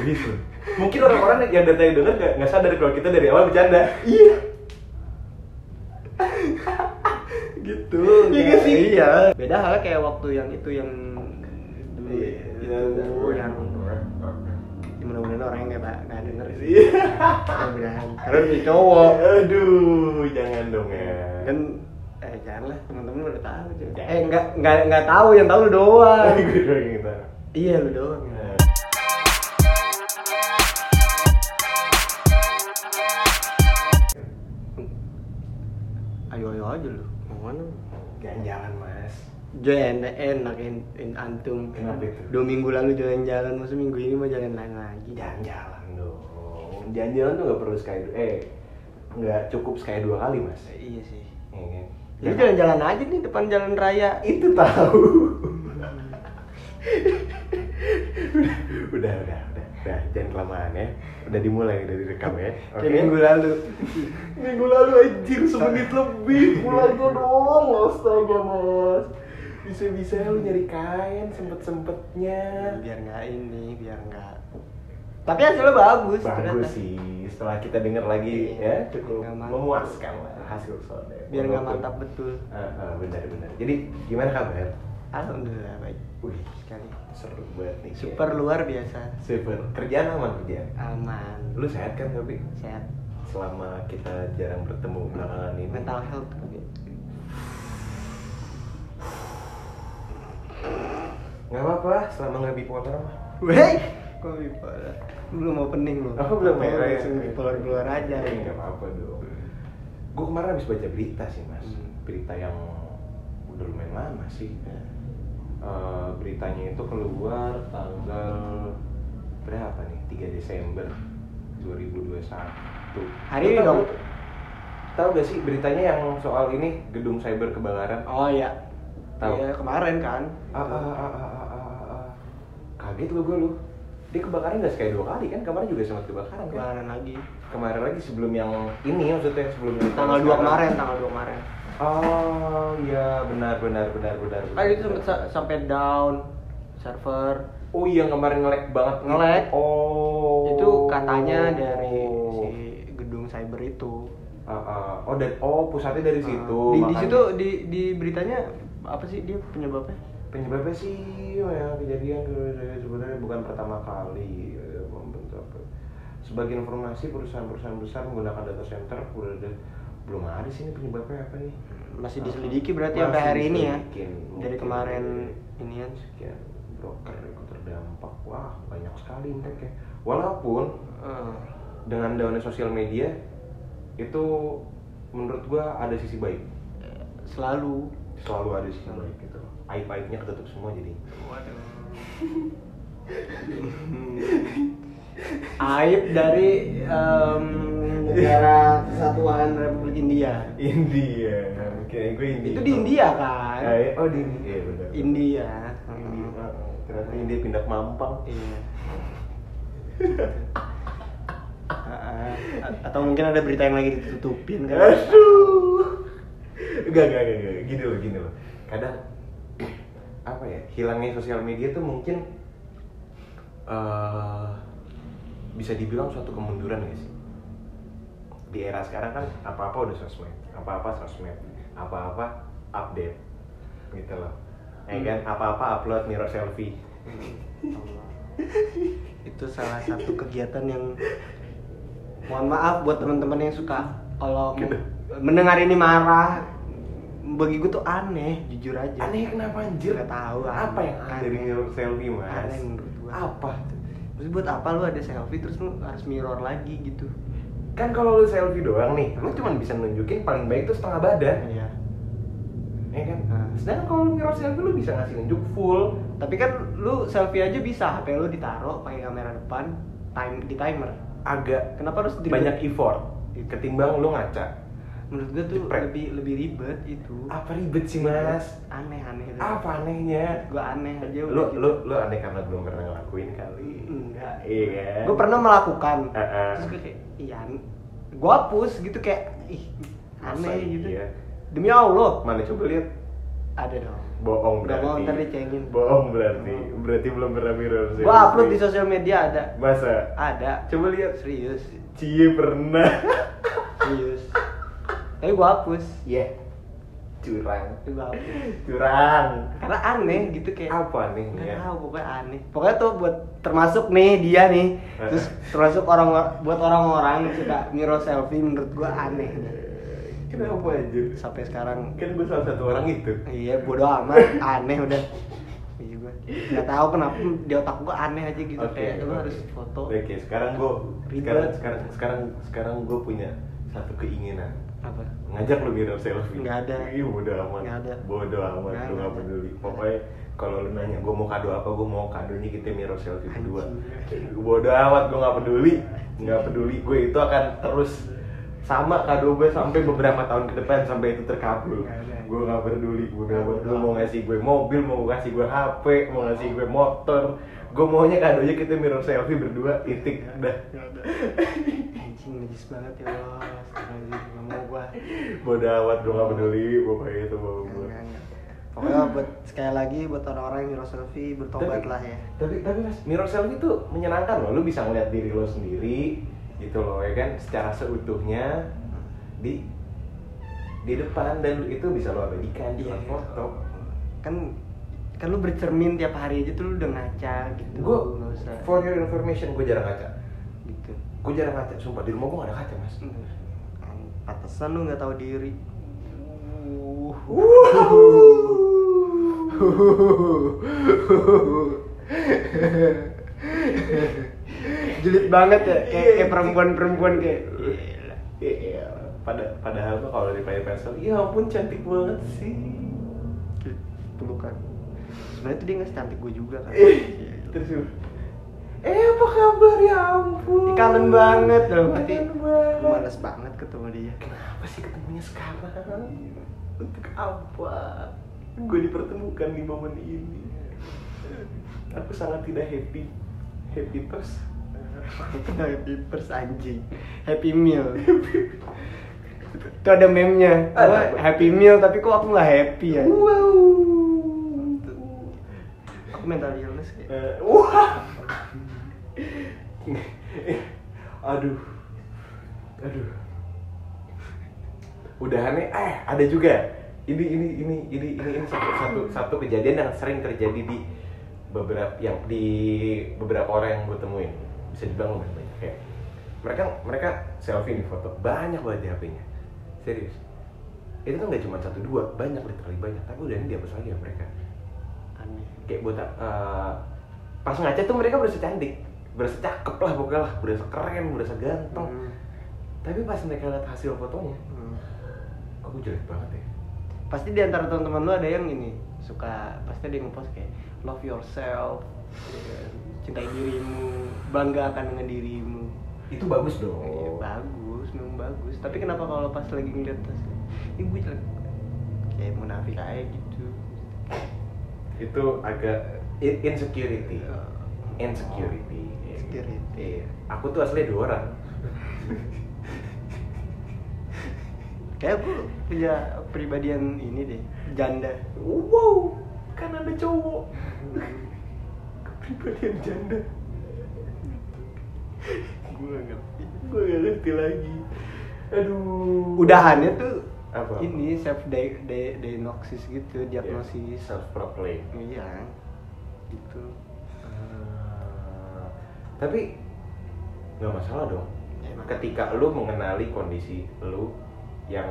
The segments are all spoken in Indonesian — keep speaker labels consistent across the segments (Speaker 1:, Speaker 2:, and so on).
Speaker 1: Begitu.
Speaker 2: Mungkin orang-orang yang datanya denger nggak nggak sadar kalau kita dari awal bercanda.
Speaker 1: Iya.
Speaker 2: Gitu.
Speaker 1: Iya nggak sih?
Speaker 2: Iya.
Speaker 1: Beda halnya kayak waktu yang itu yang dulu
Speaker 2: Iya.
Speaker 1: itu yang ya mudah-mudahan orangnya nggak ba- nggak denger sih.
Speaker 2: Iya.
Speaker 1: Mudah-mudahan. Karena dia cowok.
Speaker 2: Aduh, jangan dong ya.
Speaker 1: Kan eh jangan lah teman-teman udah tahu cuy.
Speaker 2: Jangan.
Speaker 1: Eh nggak nggak nggak tahu yang tahu lu doang.
Speaker 2: Gue doang yang kita.
Speaker 1: iya lu doang. Ayo ayo aja lu. Mau mana?
Speaker 2: Jalan-jalan mas.
Speaker 1: Jalan enak en- en- antum.
Speaker 2: Kenapa itu?
Speaker 1: Dua minggu lalu jalan-jalan, masa minggu ini mau jalan lain lagi.
Speaker 2: Jalan-jalan dong. Jalan-jalan tuh nggak perlu sekali dua. Eh, nggak cukup sekali dua kali mas. Iya
Speaker 1: Iya sih.
Speaker 2: kan?
Speaker 1: Jadi jalan-jalan aja nih depan jalan raya.
Speaker 2: itu tahu. udah, udah, udah, udah, jangan kelamaan ya. Udah dimulai dari rekam ya.
Speaker 1: Kayak minggu lalu.
Speaker 2: Minggu lalu anjir semenit lebih pulangnya dong astaga mas bisa-bisa lu nyari kain sempet-sempetnya
Speaker 1: biar nggak ini, biar nggak. Tapi hasilnya bagus. ternyata.
Speaker 2: bagus sih setelah kita denger lagi ya
Speaker 1: Iya,
Speaker 2: cukup
Speaker 1: nggak mantap.
Speaker 2: memuaskan lah hasil soalnya
Speaker 1: Biar nggak mantap betul.
Speaker 2: benar-benar jadi gimana kabar
Speaker 1: Alhamdulillah baik
Speaker 2: wih
Speaker 1: sekali.
Speaker 2: seru banget nih
Speaker 1: Super luar biasa.
Speaker 2: super kerjaan aman kerjaan
Speaker 1: Aman.
Speaker 2: lu sehat kan tapi
Speaker 1: Sehat.
Speaker 2: selama kita jarang bertemu belakangan ini
Speaker 1: Mental health.
Speaker 2: nggak apa-apa selama nggak bipolar mah
Speaker 1: Wey, kok bipolar? Belum opening lu.
Speaker 2: Aku belum
Speaker 1: Mau
Speaker 2: merah ya.
Speaker 1: langsung keluar keluar aja.
Speaker 2: Ya, nggak apa-apa dong. Gue kemarin habis baca berita sih mas,
Speaker 1: Hmm.
Speaker 2: berita yang udah lumayan lama sih. Eh, beritanya itu keluar tanggal berapa nih? 3 Desember 2021.
Speaker 1: Hari
Speaker 2: Lu
Speaker 1: ini
Speaker 2: tahu-
Speaker 1: dong?
Speaker 2: Tahu gak sih beritanya yang soal ini gedung cyber kebakaran?
Speaker 1: Oh iya.
Speaker 2: Tahu.
Speaker 1: Iya kemarin kan.
Speaker 2: Ah, ah, ah, ah, ah, ah, ah, ah. Kaget lo gue lu. Dia kebakaran gak sekali dua kali kan? Kemarin juga sempat kebakaran kan?
Speaker 1: Kemarin lagi.
Speaker 2: kemarin lagi sebelum yang ini maksudnya sebelum yang
Speaker 1: Tanggal 2 kemarin, tanggal 2 kemarin.
Speaker 2: oh iya benar benar benar benar
Speaker 1: Kan itu sempet sa- sampai down server.
Speaker 2: oh iya kemarin ngelek banget
Speaker 1: Nge-lag.
Speaker 2: oh
Speaker 1: Itu katanya dari si gedung cyber itu.
Speaker 2: Ah,
Speaker 1: Hmm.
Speaker 2: ah. oh dan oh pusatnya dari situ
Speaker 1: Ah. Di, di
Speaker 2: makanya.
Speaker 1: situ di di beritanya apa sih dia penyebabnya?
Speaker 2: penyebabnya sih ya kejadian sebenarnya bukan pertama kali eh, membentuk sebagai informasi perusahaan-perusahaan besar menggunakan data center udah ada belum ada sih ini penyebabnya apa nih
Speaker 1: Masih diselidiki berarti
Speaker 2: Masih
Speaker 1: sampai hari ini ya.
Speaker 2: diselidikin.
Speaker 1: Dari
Speaker 2: Mungkin
Speaker 1: kemarin
Speaker 2: dari
Speaker 1: ini kan.
Speaker 2: sekian broker ikut terdampak wah banyak sekali impact ya walaupun
Speaker 1: Heeh.
Speaker 2: dengan daunnya sosial media itu menurut gua ada sisi baik
Speaker 1: selalu
Speaker 2: selalu ada sisi baik gitu aib aibnya ketutup semua jadi
Speaker 1: Waduh. Aib dari em, negara kesatuan Republik India.
Speaker 2: India kayak gue India
Speaker 1: Itu di India kan?
Speaker 2: Ah, iya. oh di India iya, benar
Speaker 1: India.
Speaker 2: India ah, ah. ternyata India pindah ke Mampang
Speaker 1: Iya. Ah, ah. Atau mungkin ada berita yang lagi ditutupin kan?
Speaker 2: Aduh. Enggak, enggak, enggak, enggak. Gini loh, gini loh. Kadang apa ya? Hilangnya sosial media tuh mungkin eh bisa dibilang suatu kemunduran guys. Di era sekarang kan apa-apa udah sosmed, apa-apa sosmed, apa-apa update. Gitu loh. Ya
Speaker 1: Hmm.
Speaker 2: kan, apa-apa upload mirror selfie.
Speaker 1: Itu salah satu kegiatan yang mohon maaf buat teman-teman yang suka kalau
Speaker 2: Gitu.
Speaker 1: mendengar ini marah bagi gue tuh aneh jujur aja
Speaker 2: Aneh kenapa anjir?
Speaker 1: Nggak tahu,
Speaker 2: Apa yang aneh dari
Speaker 1: aneh.
Speaker 2: mirror selfie, Mas?
Speaker 1: aneh menurut gue
Speaker 2: Apa?
Speaker 1: Terus buat apa lu ada selfie terus lu harus mirror lagi gitu?
Speaker 2: kan kalau lu selfie doang nih lu cuma bisa nunjukin paling baik tuh setengah badan
Speaker 1: Iya.
Speaker 2: ya kan
Speaker 1: Hmm.
Speaker 2: sedangkan kalau lu mirror selfie lu bisa ngasih nunjuk full
Speaker 1: Tapi kan lu selfie aja bisa, HP lu ditaruh pakai kamera depan, time di timer.
Speaker 2: agak
Speaker 1: Kenapa harus di
Speaker 2: banyak effort ketimbang lu ngaca
Speaker 1: Menurut gua tuh
Speaker 2: Jepret.
Speaker 1: lebih lebih ribet itu.
Speaker 2: apa ribet sih mas
Speaker 1: Aneh aneh. itu.
Speaker 2: apa anehnya
Speaker 1: Gua aneh aja. gitu.
Speaker 2: lu lu lu aneh karena belum pernah ngelakuin kali
Speaker 1: enggak.
Speaker 2: iya kan?
Speaker 1: Gua pernah melakukan.
Speaker 2: Heeh.
Speaker 1: Terus gue kayak, iya. an- Gua hapus gitu kayak, ih
Speaker 2: Masa
Speaker 1: aneh gitu.
Speaker 2: iya?
Speaker 1: Demi Allah
Speaker 2: mana coba lihat
Speaker 1: ada dong.
Speaker 2: bohong
Speaker 1: Gak mau
Speaker 2: berarti
Speaker 1: ntar dicengin
Speaker 2: bohong berarti berarti belum pernah mirror selfie
Speaker 1: Gua upload di sosial media ada
Speaker 2: masa
Speaker 1: Ada
Speaker 2: coba lihat
Speaker 1: Serius
Speaker 2: cie pernah
Speaker 1: Serius Tapi gua hapus
Speaker 2: ya curang
Speaker 1: Tapi gua hapus
Speaker 2: curang Eh,
Speaker 1: Karena aneh gitu kayak
Speaker 2: apa nih
Speaker 1: Gak
Speaker 2: ya?
Speaker 1: tahu pokoknya aneh. Pokoknya tuh buat termasuk nih dia nih, terus termasuk orang buat orang-orang yang suka mirror selfie menurut gua aneh.
Speaker 2: Eh, kenapa anjir
Speaker 1: Sampai sekarang
Speaker 2: kan gue salah satu orang itu
Speaker 1: iya bodo amat, aneh udah. Iya gua nggak tahu kenapa di otak gua aneh aja gitu kayak lu harus foto.
Speaker 2: Oke, sekarang gue
Speaker 1: Ribet.
Speaker 2: sekarang sekarang sekarang sekarang gue punya satu keinginan
Speaker 1: Apa?
Speaker 2: ngajak lu mirror selfie.
Speaker 1: Nggak ada.
Speaker 2: Ih, bodo amat.
Speaker 1: Nggak ada.
Speaker 2: Bodo amat,
Speaker 1: Nggak
Speaker 2: lu
Speaker 1: ada.
Speaker 2: nggak peduli. Pokoknya kalau lu nanya gue mau kado apa, gue mau kadonya kita mirror selfie berdua. Bodo amat, gue nggak peduli. Nggak peduli, gue itu akan terus sama kado gue sampai beberapa tahun ke depan sampai itu terkabul.
Speaker 1: Nggak ada.
Speaker 2: Gue nggak peduli, bodo
Speaker 1: Nggak
Speaker 2: amat.
Speaker 1: bodo
Speaker 2: Lu mau
Speaker 1: amat.
Speaker 2: ngasih gue mobil, mau ngasih gue HP, mau ngasih gue motor. Gue maunya kadonya kita mirror selfie berdua, titik, dah.
Speaker 1: Anjing najis banget ya Allah. Astagfirullahaladzim, nggak mau gua.
Speaker 2: Bodo amat, gue nggak peduli. Pokoknya itu mau
Speaker 1: Nggak,
Speaker 2: gue.
Speaker 1: nggak, nggak. Pokoknya buat sekali lagi buat orang-orang yang mirror selfie bertobatlah ya.
Speaker 2: tapi tapi mas mirror selfie itu menyenangkan loh lu bisa ngeliat diri lo sendiri gitu loh ya kan secara seutuhnya di di depan dan itu bisa lo abadikan di
Speaker 1: Iya.
Speaker 2: foto
Speaker 1: kan kan lu bercermin tiap hari aja tuh lu udah ngaca gitu
Speaker 2: gue
Speaker 1: nggak usah
Speaker 2: for your information gue jarang ngaca
Speaker 1: gitu
Speaker 2: gue jarang ngaca sumpah di rumah gue gak ada kaca mas
Speaker 1: pantesan lu nggak tahu diri uh. jelit banget ya kayak, kayak perempuan-perempuan kayak "Gila."
Speaker 2: Iya, pada padahal mah kalau di Paya Pencil, ya ampun cantik banget sih.
Speaker 1: Kayak pelukan sebenarnya tuh dia nggak secantik gue juga kan
Speaker 2: Terus gua, eh apa kabar ya ampun.
Speaker 1: kangen banget loh berarti
Speaker 2: Kangen
Speaker 1: gua
Speaker 2: banget.
Speaker 1: males banget ketemu dia
Speaker 2: Kenapa sih ketemunya sekarang? Untuk apa? Gue dipertemukan di momen ini. Aku sangat tidak happy. Happy terus.
Speaker 1: Happy Pers anjing Happy Meal Itu ada meme-nya Gua
Speaker 2: Ada.
Speaker 1: Happy Meal tapi kok aku gak happy ya
Speaker 2: Wow.
Speaker 1: Aku mental illness ya
Speaker 2: Eh, wah. Aduh. Aduh. Udahannya eh ada juga. Ini ini ini ini ini, ini satu, satu satu kejadian yang sering terjadi di beberapa yang di beberapa orang yang gue temuin bisa dibilang lumayan banyak kayak mereka mereka selfie nih foto banyak banget di HP-nya serius itu kan nggak cuma satu dua banyak literally banyak tapi udah ini dihapus lagi ya mereka
Speaker 1: Aneh
Speaker 2: kayak buat eh, pas ngaca tuh mereka berasa cantik berasa cakep lah pokoknya lah berasa keren berasa ganteng
Speaker 1: Hmm.
Speaker 2: tapi pas mereka lihat hasil fotonya
Speaker 1: Hmm.
Speaker 2: kok gue jelek banget ya
Speaker 1: Pasti di antara teman-teman lu ada yang ini Suka Pasti ada yang ngepost kayak Love yourself ya kan? Cintai dirimu Bangga akan dengan dirimu
Speaker 2: itu bagus dong
Speaker 1: Iya, bagus, memang bagus. Tapi kenapa kalau pas lagi ngeliat tas, ini gue jelek. Kayak munafik aja gitu.
Speaker 2: itu agak Iya. in- insecurity insecurity
Speaker 1: Insecurity.
Speaker 2: Iya. aku tuh aslinya dua orang
Speaker 1: Kayak gue punya pribadian ini deh, janda.
Speaker 2: wow kan ada cowok kepribadian janda
Speaker 1: Gue gak ngerti.
Speaker 2: gue gak ngerti lagi aduh
Speaker 1: Udahannya tuh
Speaker 2: Apa? Iya.
Speaker 1: ini self di- di- diagnosis gitu, diagnosis.
Speaker 2: self proclaim
Speaker 1: Iya. Gitu.
Speaker 2: Ah, tapi nggak masalah dong
Speaker 1: Ya, emang.
Speaker 2: ketika lu mengenali kondisi lu yang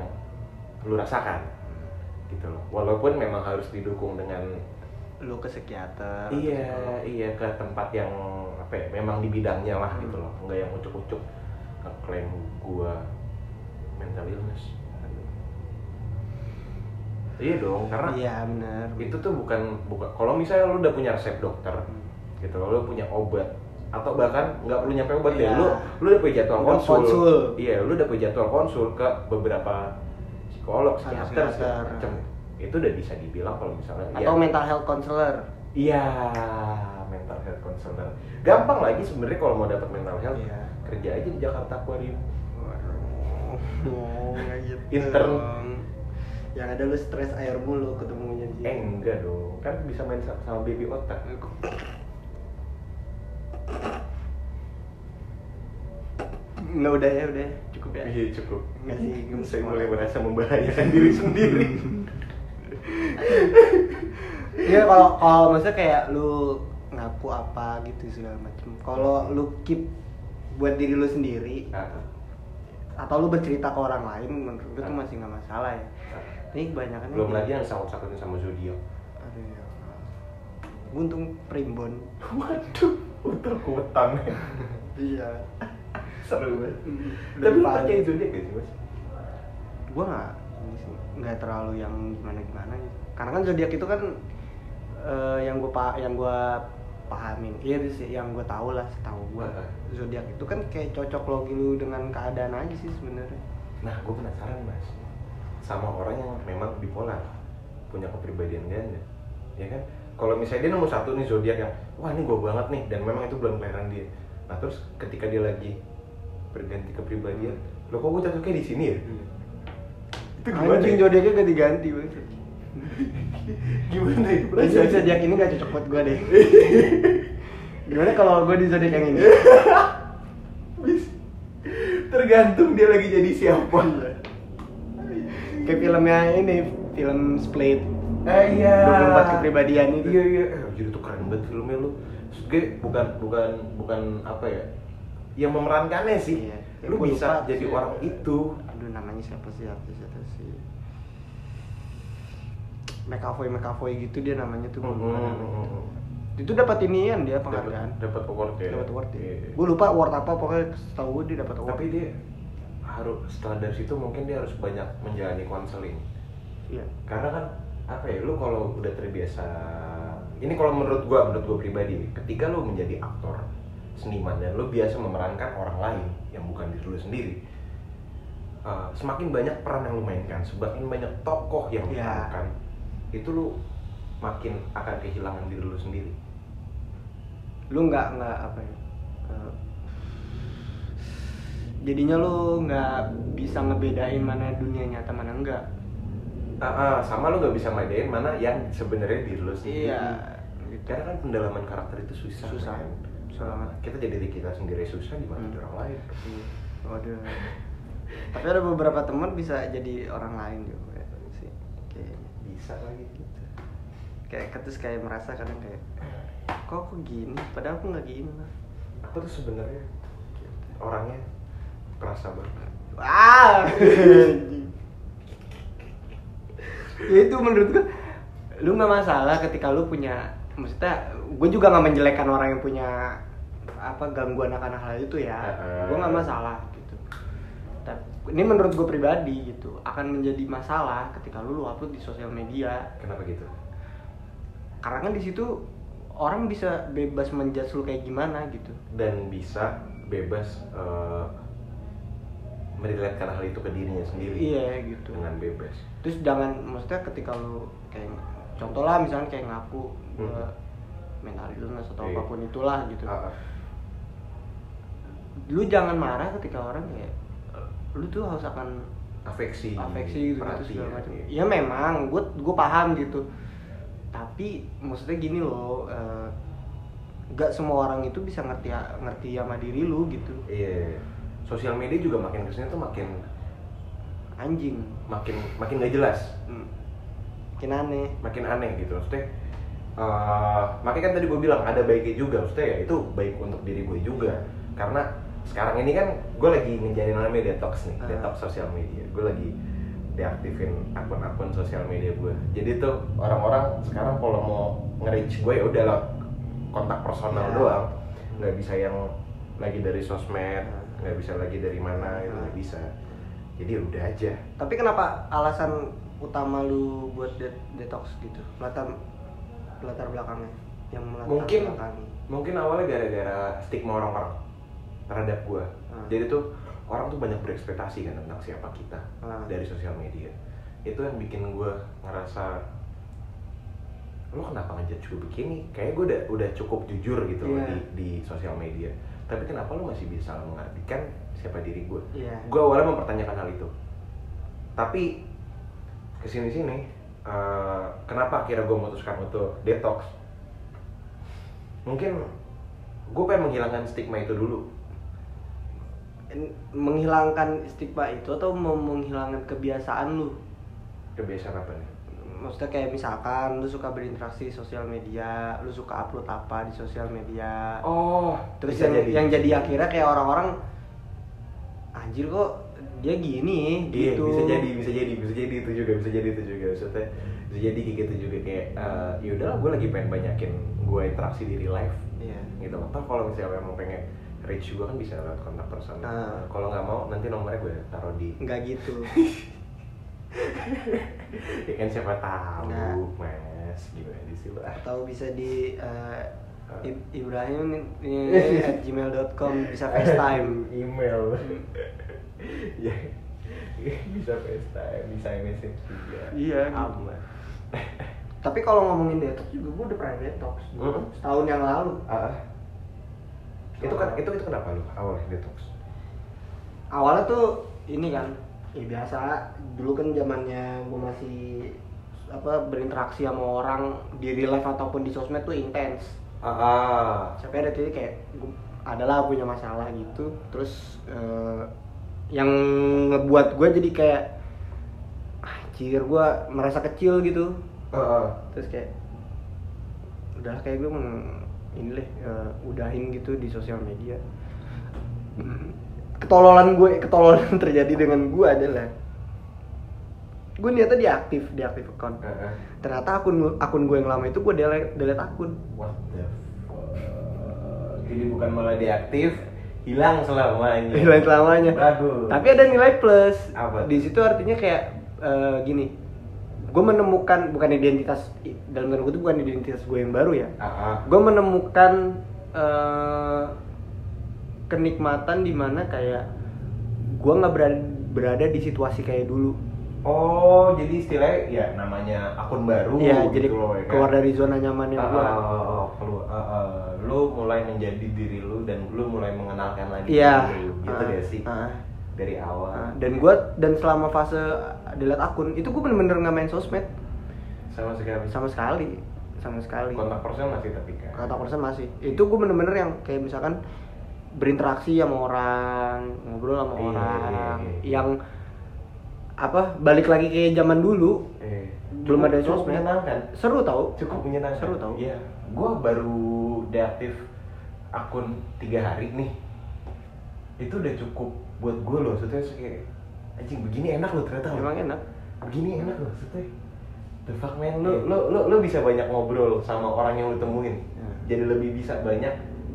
Speaker 2: lu rasakan gitu loh walaupun memang harus didukung dengan
Speaker 1: Lu ke psikiater.
Speaker 2: iya iya ke tempat yang apa ya memang di bidangnya lah gitu
Speaker 1: Hmm.
Speaker 2: loh nggak yang ucuk-ucuk ngeklaim gua mental illness iya dong karena
Speaker 1: Iya, benar.
Speaker 2: itu tuh bukan bukan kalau misalnya lu udah punya resep dokter
Speaker 1: Hmm.
Speaker 2: gitu lu punya obat atau bahkan nggak perlu nyampe obat
Speaker 1: Iya.
Speaker 2: ya lu lu udah punya jadwal
Speaker 1: Udah
Speaker 2: konsul.
Speaker 1: konsul.
Speaker 2: iya lu udah punya jadwal konsul ke beberapa psikolog
Speaker 1: Sana
Speaker 2: psikiater
Speaker 1: psikiater.
Speaker 2: segala macem. itu udah bisa dibilang kalau misalnya
Speaker 1: Atau
Speaker 2: iya,
Speaker 1: mental health counselor.
Speaker 2: iya mental health consultant gampang lagi sebenarnya kalau mau dapat mental health
Speaker 1: Iya.
Speaker 2: kerja aja di Jakarta Aquarium
Speaker 1: Waduh, nggak gitu.
Speaker 2: Intern.
Speaker 1: dong. Ya yang ada lu stres air mulu ketemunya di
Speaker 2: Eh
Speaker 1: sini
Speaker 2: enggak dong, kan bisa main sa- sama baby otak.
Speaker 1: nggak udah ya udah ya. cukup ya
Speaker 2: Iya cukup.
Speaker 1: Nggak sih, gemes
Speaker 2: Saya
Speaker 1: banget.
Speaker 2: mulai merasa membahayakan diri sendiri.
Speaker 1: Iya kalau kalau maksudnya kayak lu ngaku apa gitu segala macem. Kalau lu keep buat diri lu sendiri
Speaker 2: Nah,
Speaker 1: atau lu bercerita ke orang lain menurut gue tuh
Speaker 2: Ah.
Speaker 1: masih nggak masalah ya.
Speaker 2: nah.
Speaker 1: Ini kebanyakan gitu.
Speaker 2: Belum lagi yang sangkut sakutin sama zodiak.
Speaker 1: Aduh ya. Untung primbon.
Speaker 2: Waduh, utar kuwetan.
Speaker 1: Iya.
Speaker 2: Seru banget.
Speaker 1: Mm,
Speaker 2: Tapi lu
Speaker 1: depan.
Speaker 2: percaya zodiak gak sih gitu, mas?
Speaker 1: Gua nggak ini sih, nggak terlalu yang gimana gimana gitu. Karena kan zodiak itu kan eh, yang gue pa yang gua pahamin iya sih yang gue tahu lah setahu gue
Speaker 2: Ah.
Speaker 1: zodiak itu kan kayak cocok logi lu dengan keadaan aja sih sebenarnya
Speaker 2: Nah, gue penasaran mas sama orang yang memang bipolar punya kepribadian ganda, ya kan? Kalau misalnya dia nemu satu nih zodiak yang wah ini gue banget nih dan memang itu belum kelahiran dia. Nah terus ketika dia lagi berganti kepribadian, lo kok gue cocoknya di sini ya? Itu gimana?
Speaker 1: Anjing
Speaker 2: ya?
Speaker 1: zodiaknya ganti-ganti banget.
Speaker 2: Gimana ya?
Speaker 1: Berarti zodiak ini gak cocok buat gue deh. Gimana kalau gue di zodiak yang ini?
Speaker 2: Bis- Tergantung dia lagi jadi siapa.
Speaker 1: Kayak filmnya ini, film Split.
Speaker 2: Eh, iya.
Speaker 1: 24 kepribadian itu.
Speaker 2: Iya iya. Eh, Jadi tuh keren banget filmnya lu. Maksud gue bukan bukan bukan apa ya? Yang memerankannya sih.
Speaker 1: Iya.
Speaker 2: Lu
Speaker 1: Gua
Speaker 2: bisa
Speaker 1: lupa
Speaker 2: jadi
Speaker 1: sih.
Speaker 2: orang itu.
Speaker 1: Aduh namanya siapa sih artis itu sih? McAvoy McAvoy gitu dia namanya tuh. gua lupa
Speaker 2: Mm-mm,
Speaker 1: namanya.
Speaker 2: mm-mm.
Speaker 1: Itu dapat inian dia
Speaker 2: Mm-hmm. Dapat
Speaker 1: hmm, penghargaan.
Speaker 2: dapat award ya.
Speaker 1: Dapat award
Speaker 2: Iya,
Speaker 1: ya.
Speaker 2: iya.
Speaker 1: Gue lupa award apa pokoknya setahu gue dia dapat award.
Speaker 2: Tapi dia harus setelah dari situ mungkin dia harus banyak menjalani konseling.
Speaker 1: iya.
Speaker 2: Karena kan apa ya? Lu kalau udah terbiasa ini kalau menurut gua, menurut gua pribadi, ketika lu menjadi aktor, seniman dan lu biasa memerankan orang lain yang bukan diri lu sendiri, uh, semakin banyak peran yang lu mainkan, semakin banyak tokoh yang lu
Speaker 1: Iya.
Speaker 2: mainkan, itu lu makin akan kehilangan diri lu sendiri.
Speaker 1: lu nggak nggak apa ya eh, jadinya lu nggak bisa ngebedain mana dunia nyata mana enggak
Speaker 2: Ah, ah, sama lu nggak bisa mainin mana yang sebenarnya diri lu sendiri.
Speaker 1: gitu
Speaker 2: Karena kan pendalaman karakter itu susah.
Speaker 1: Susah.
Speaker 2: men.
Speaker 1: Susah banget.
Speaker 2: Kita jadi diri kita sendiri susah gimana
Speaker 1: Hmm.
Speaker 2: diri orang lain?
Speaker 1: waduh tapi ada beberapa teman bisa jadi orang lain juga ya, sih kayaknya
Speaker 2: Bisa lagi gitu.
Speaker 1: kayak ketus kayak merasa kadang kayak kok aku gini padahal aku nggak gini lah
Speaker 2: Aku tuh sebenarnya orangnya kerasa banget.
Speaker 1: Wah. ya itu menurut gua lu nggak masalah ketika lu punya maksudnya gue juga nggak menjelekkan orang yang punya apa gangguan akan hal itu ya
Speaker 2: Heeh.
Speaker 1: gue nggak masalah gitu tapi ini menurut gue pribadi gitu akan menjadi masalah ketika lu lu upload di sosial media
Speaker 2: Kenapa gitu?
Speaker 1: karena kan di situ orang bisa bebas menjudge lu kayak gimana gitu
Speaker 2: Dan bisa bebas eh meriletkan hal itu ke dirinya sendiri.
Speaker 1: iya gitu
Speaker 2: Dengan bebas.
Speaker 1: terus jangan maksudnya ketika lu kayak contoh lah misalnya kayak ngaku
Speaker 2: Hmm.
Speaker 1: gua mental illness atau
Speaker 2: Iya.
Speaker 1: apapun itulah gitu
Speaker 2: Ah, ah.
Speaker 1: lu jangan marah ketika orang kayak eh, lu tuh harus akan
Speaker 2: afeksi,
Speaker 1: afeksi
Speaker 2: Iya,
Speaker 1: gitu, gitu
Speaker 2: perhatian,
Speaker 1: segala macam
Speaker 2: iya.
Speaker 1: ya memang gue gue paham gitu tapi maksudnya gini loh eh, gak semua orang itu bisa ngerti ngerti sama diri lu gitu
Speaker 2: Iya. Sosial media juga makin kesini tuh makin
Speaker 1: anjing
Speaker 2: makin makin gak jelas,
Speaker 1: hmm. makin aneh
Speaker 2: makin aneh gitu maksudnya. eh, makanya kan tadi gue bilang ada baiknya juga, maksudnya ya itu baik untuk diri gue juga. Karena sekarang ini kan gue lagi ngejalanin yang namanya detox nih,
Speaker 1: Ah.
Speaker 2: detox sosial media. Gue lagi deaktifin akun-akun sosial media gue. Jadi tuh orang-orang sekarang kalau mau nge-reach gue ya udah lah kontak personal
Speaker 1: Iya.
Speaker 2: doang, nggak bisa yang lagi dari sosmed,
Speaker 1: Ah.
Speaker 2: nggak bisa lagi dari mana itu nggak
Speaker 1: Ah.
Speaker 2: bisa. Jadi ya udah aja.
Speaker 1: Tapi kenapa alasan utama lu buat det- detox gitu? Latar latar belakangnya yang melatar
Speaker 2: Mungkin.
Speaker 1: belakangi.
Speaker 2: mungkin awalnya gara-gara stigma orang-orang terhadap gua
Speaker 1: Hmm.
Speaker 2: jadi tuh orang tuh banyak berekspektasi kan tentang siapa kita
Speaker 1: Hmm.
Speaker 2: dari sosial media itu yang bikin gua ngerasa lo kenapa ngejat cukup begini kayaknya gua udah udah cukup jujur gitu loh
Speaker 1: Iya.
Speaker 2: di, di sosial media tapi kenapa lo masih bisa mengartikan siapa diri gua
Speaker 1: Iya.
Speaker 2: gue awalnya mempertanyakan hal itu tapi kesini sini eh, kenapa akhirnya gue memutuskan untuk detox mungkin gue pengen menghilangkan stigma itu dulu
Speaker 1: En- menghilangkan stigma itu atau mau menghilangkan kebiasaan lu
Speaker 2: kebiasaan apa nih
Speaker 1: maksudnya kayak misalkan lu suka berinteraksi di sosial media lu suka upload apa di sosial media
Speaker 2: oh
Speaker 1: terus
Speaker 2: bisa
Speaker 1: yang jadi. yang jadi akhirnya kayak orang-orang anjir kok dia gini
Speaker 2: Iya,
Speaker 1: gitu
Speaker 2: bisa jadi, bisa jadi, bisa jadi itu juga, bisa jadi itu juga. Maksudnya bisa jadi kayak gitu juga kayak eh, ya udahlah gue lagi pengen banyakin gue interaksi di real life
Speaker 1: Iya.
Speaker 2: gitu. Atau kalau misalnya emang pengen reach gue kan bisa lewat kontak personal.
Speaker 1: Ah.
Speaker 2: Kalau nggak mau nanti nomornya gue taruh di
Speaker 1: nggak gitu
Speaker 2: ya kan siapa tahu,
Speaker 1: Nah.
Speaker 2: Mas. Gimana sih lu? Ah.
Speaker 1: atau bisa di eh,
Speaker 2: Ah.
Speaker 1: I- Ibrahim eh, at gmail.com bisa FaceTime Hmm.
Speaker 2: email. ya. bisa FaceTime, bisa message juga.
Speaker 1: Iya, gitu.
Speaker 2: Aman.
Speaker 1: tapi kalau ngomongin detox juga gue udah pernah detox
Speaker 2: Mm.
Speaker 1: setahun yang lalu
Speaker 2: Ah. itu kan itu itu kenapa lu awalnya detox?
Speaker 1: awalnya tuh ini kan ya biasa dulu kan zamannya gue masih apa berinteraksi sama orang di real life ataupun di sosmed tuh intens
Speaker 2: Ah, ah.
Speaker 1: sampai ada titik kayak gua, adalah punya masalah gitu terus eh, yang ngebuat gue jadi kayak "Ah, anjir gue merasa kecil gitu
Speaker 2: Ah, ah.
Speaker 1: terus kayak udahlah kayak gue ini deh eh, udahin gitu di sosial media Mm, ketololan gue ketololan yang terjadi dengan gue adalah gue niatnya diaktif diaktif account
Speaker 2: Ah, ah.
Speaker 1: ternyata akun akun gue yang lama itu gue delete delete akun
Speaker 2: What the fuck? Jadi bukan malah deaktif, hilang selamanya.
Speaker 1: nilai selamanya
Speaker 2: Iya. Bagus.
Speaker 1: tapi ada nilai plus
Speaker 2: Apa?
Speaker 1: di situ artinya kayak eh, gini gue menemukan bukan identitas dalam tanda kutip bukan identitas gue yang baru ya
Speaker 2: Ah, ah.
Speaker 1: gue menemukan eh, kenikmatan di mana kayak gue nggak berada, berada di situasi kayak dulu
Speaker 2: Oh, jadi istilahnya ya namanya akun baru
Speaker 1: Iya,
Speaker 2: gitu
Speaker 1: jadi
Speaker 2: loh, ya kan?
Speaker 1: keluar dari zona nyamannya
Speaker 2: Ah,
Speaker 1: gue
Speaker 2: ah, ah, ah, keluar. Ah, ah. lu mulai menjadi diri lu dan lu mulai mengenalkan lagi
Speaker 1: iya
Speaker 2: diri lu. gitu
Speaker 1: Ah,
Speaker 2: gak sih?
Speaker 1: ah,
Speaker 2: Dari awal.
Speaker 1: ah. dan gue dan selama fase delete akun itu gue bener-bener nggak main sosmed
Speaker 2: Sama sekali.
Speaker 1: sama sekali sama sekali
Speaker 2: kontak personal masih tapi kan.
Speaker 1: kata persen masih itu gue bener-bener yang kayak misalkan berinteraksi sama orang ngobrol sama
Speaker 2: Iya,
Speaker 1: orang
Speaker 2: iya, iya.
Speaker 1: yang apa balik lagi kayak zaman dulu
Speaker 2: Eh,
Speaker 1: Belum ada
Speaker 2: cukup
Speaker 1: sosmed.
Speaker 2: menyenangkan.
Speaker 1: seru tau
Speaker 2: Cukup menyenangkan.
Speaker 1: Seru tau.
Speaker 2: Iya. Gua baru deaktif akun tiga hari nih. Itu udah cukup buat gue loh. Maksudnya kayak anjing begini enak loh ternyata. loh.
Speaker 1: emang enak
Speaker 2: Begini enak loh maksudnya. The fuck man, lu, lu, lu, lu bisa banyak ngobrol sama orang yang lu temuin
Speaker 1: Iya.
Speaker 2: Jadi lebih bisa banyak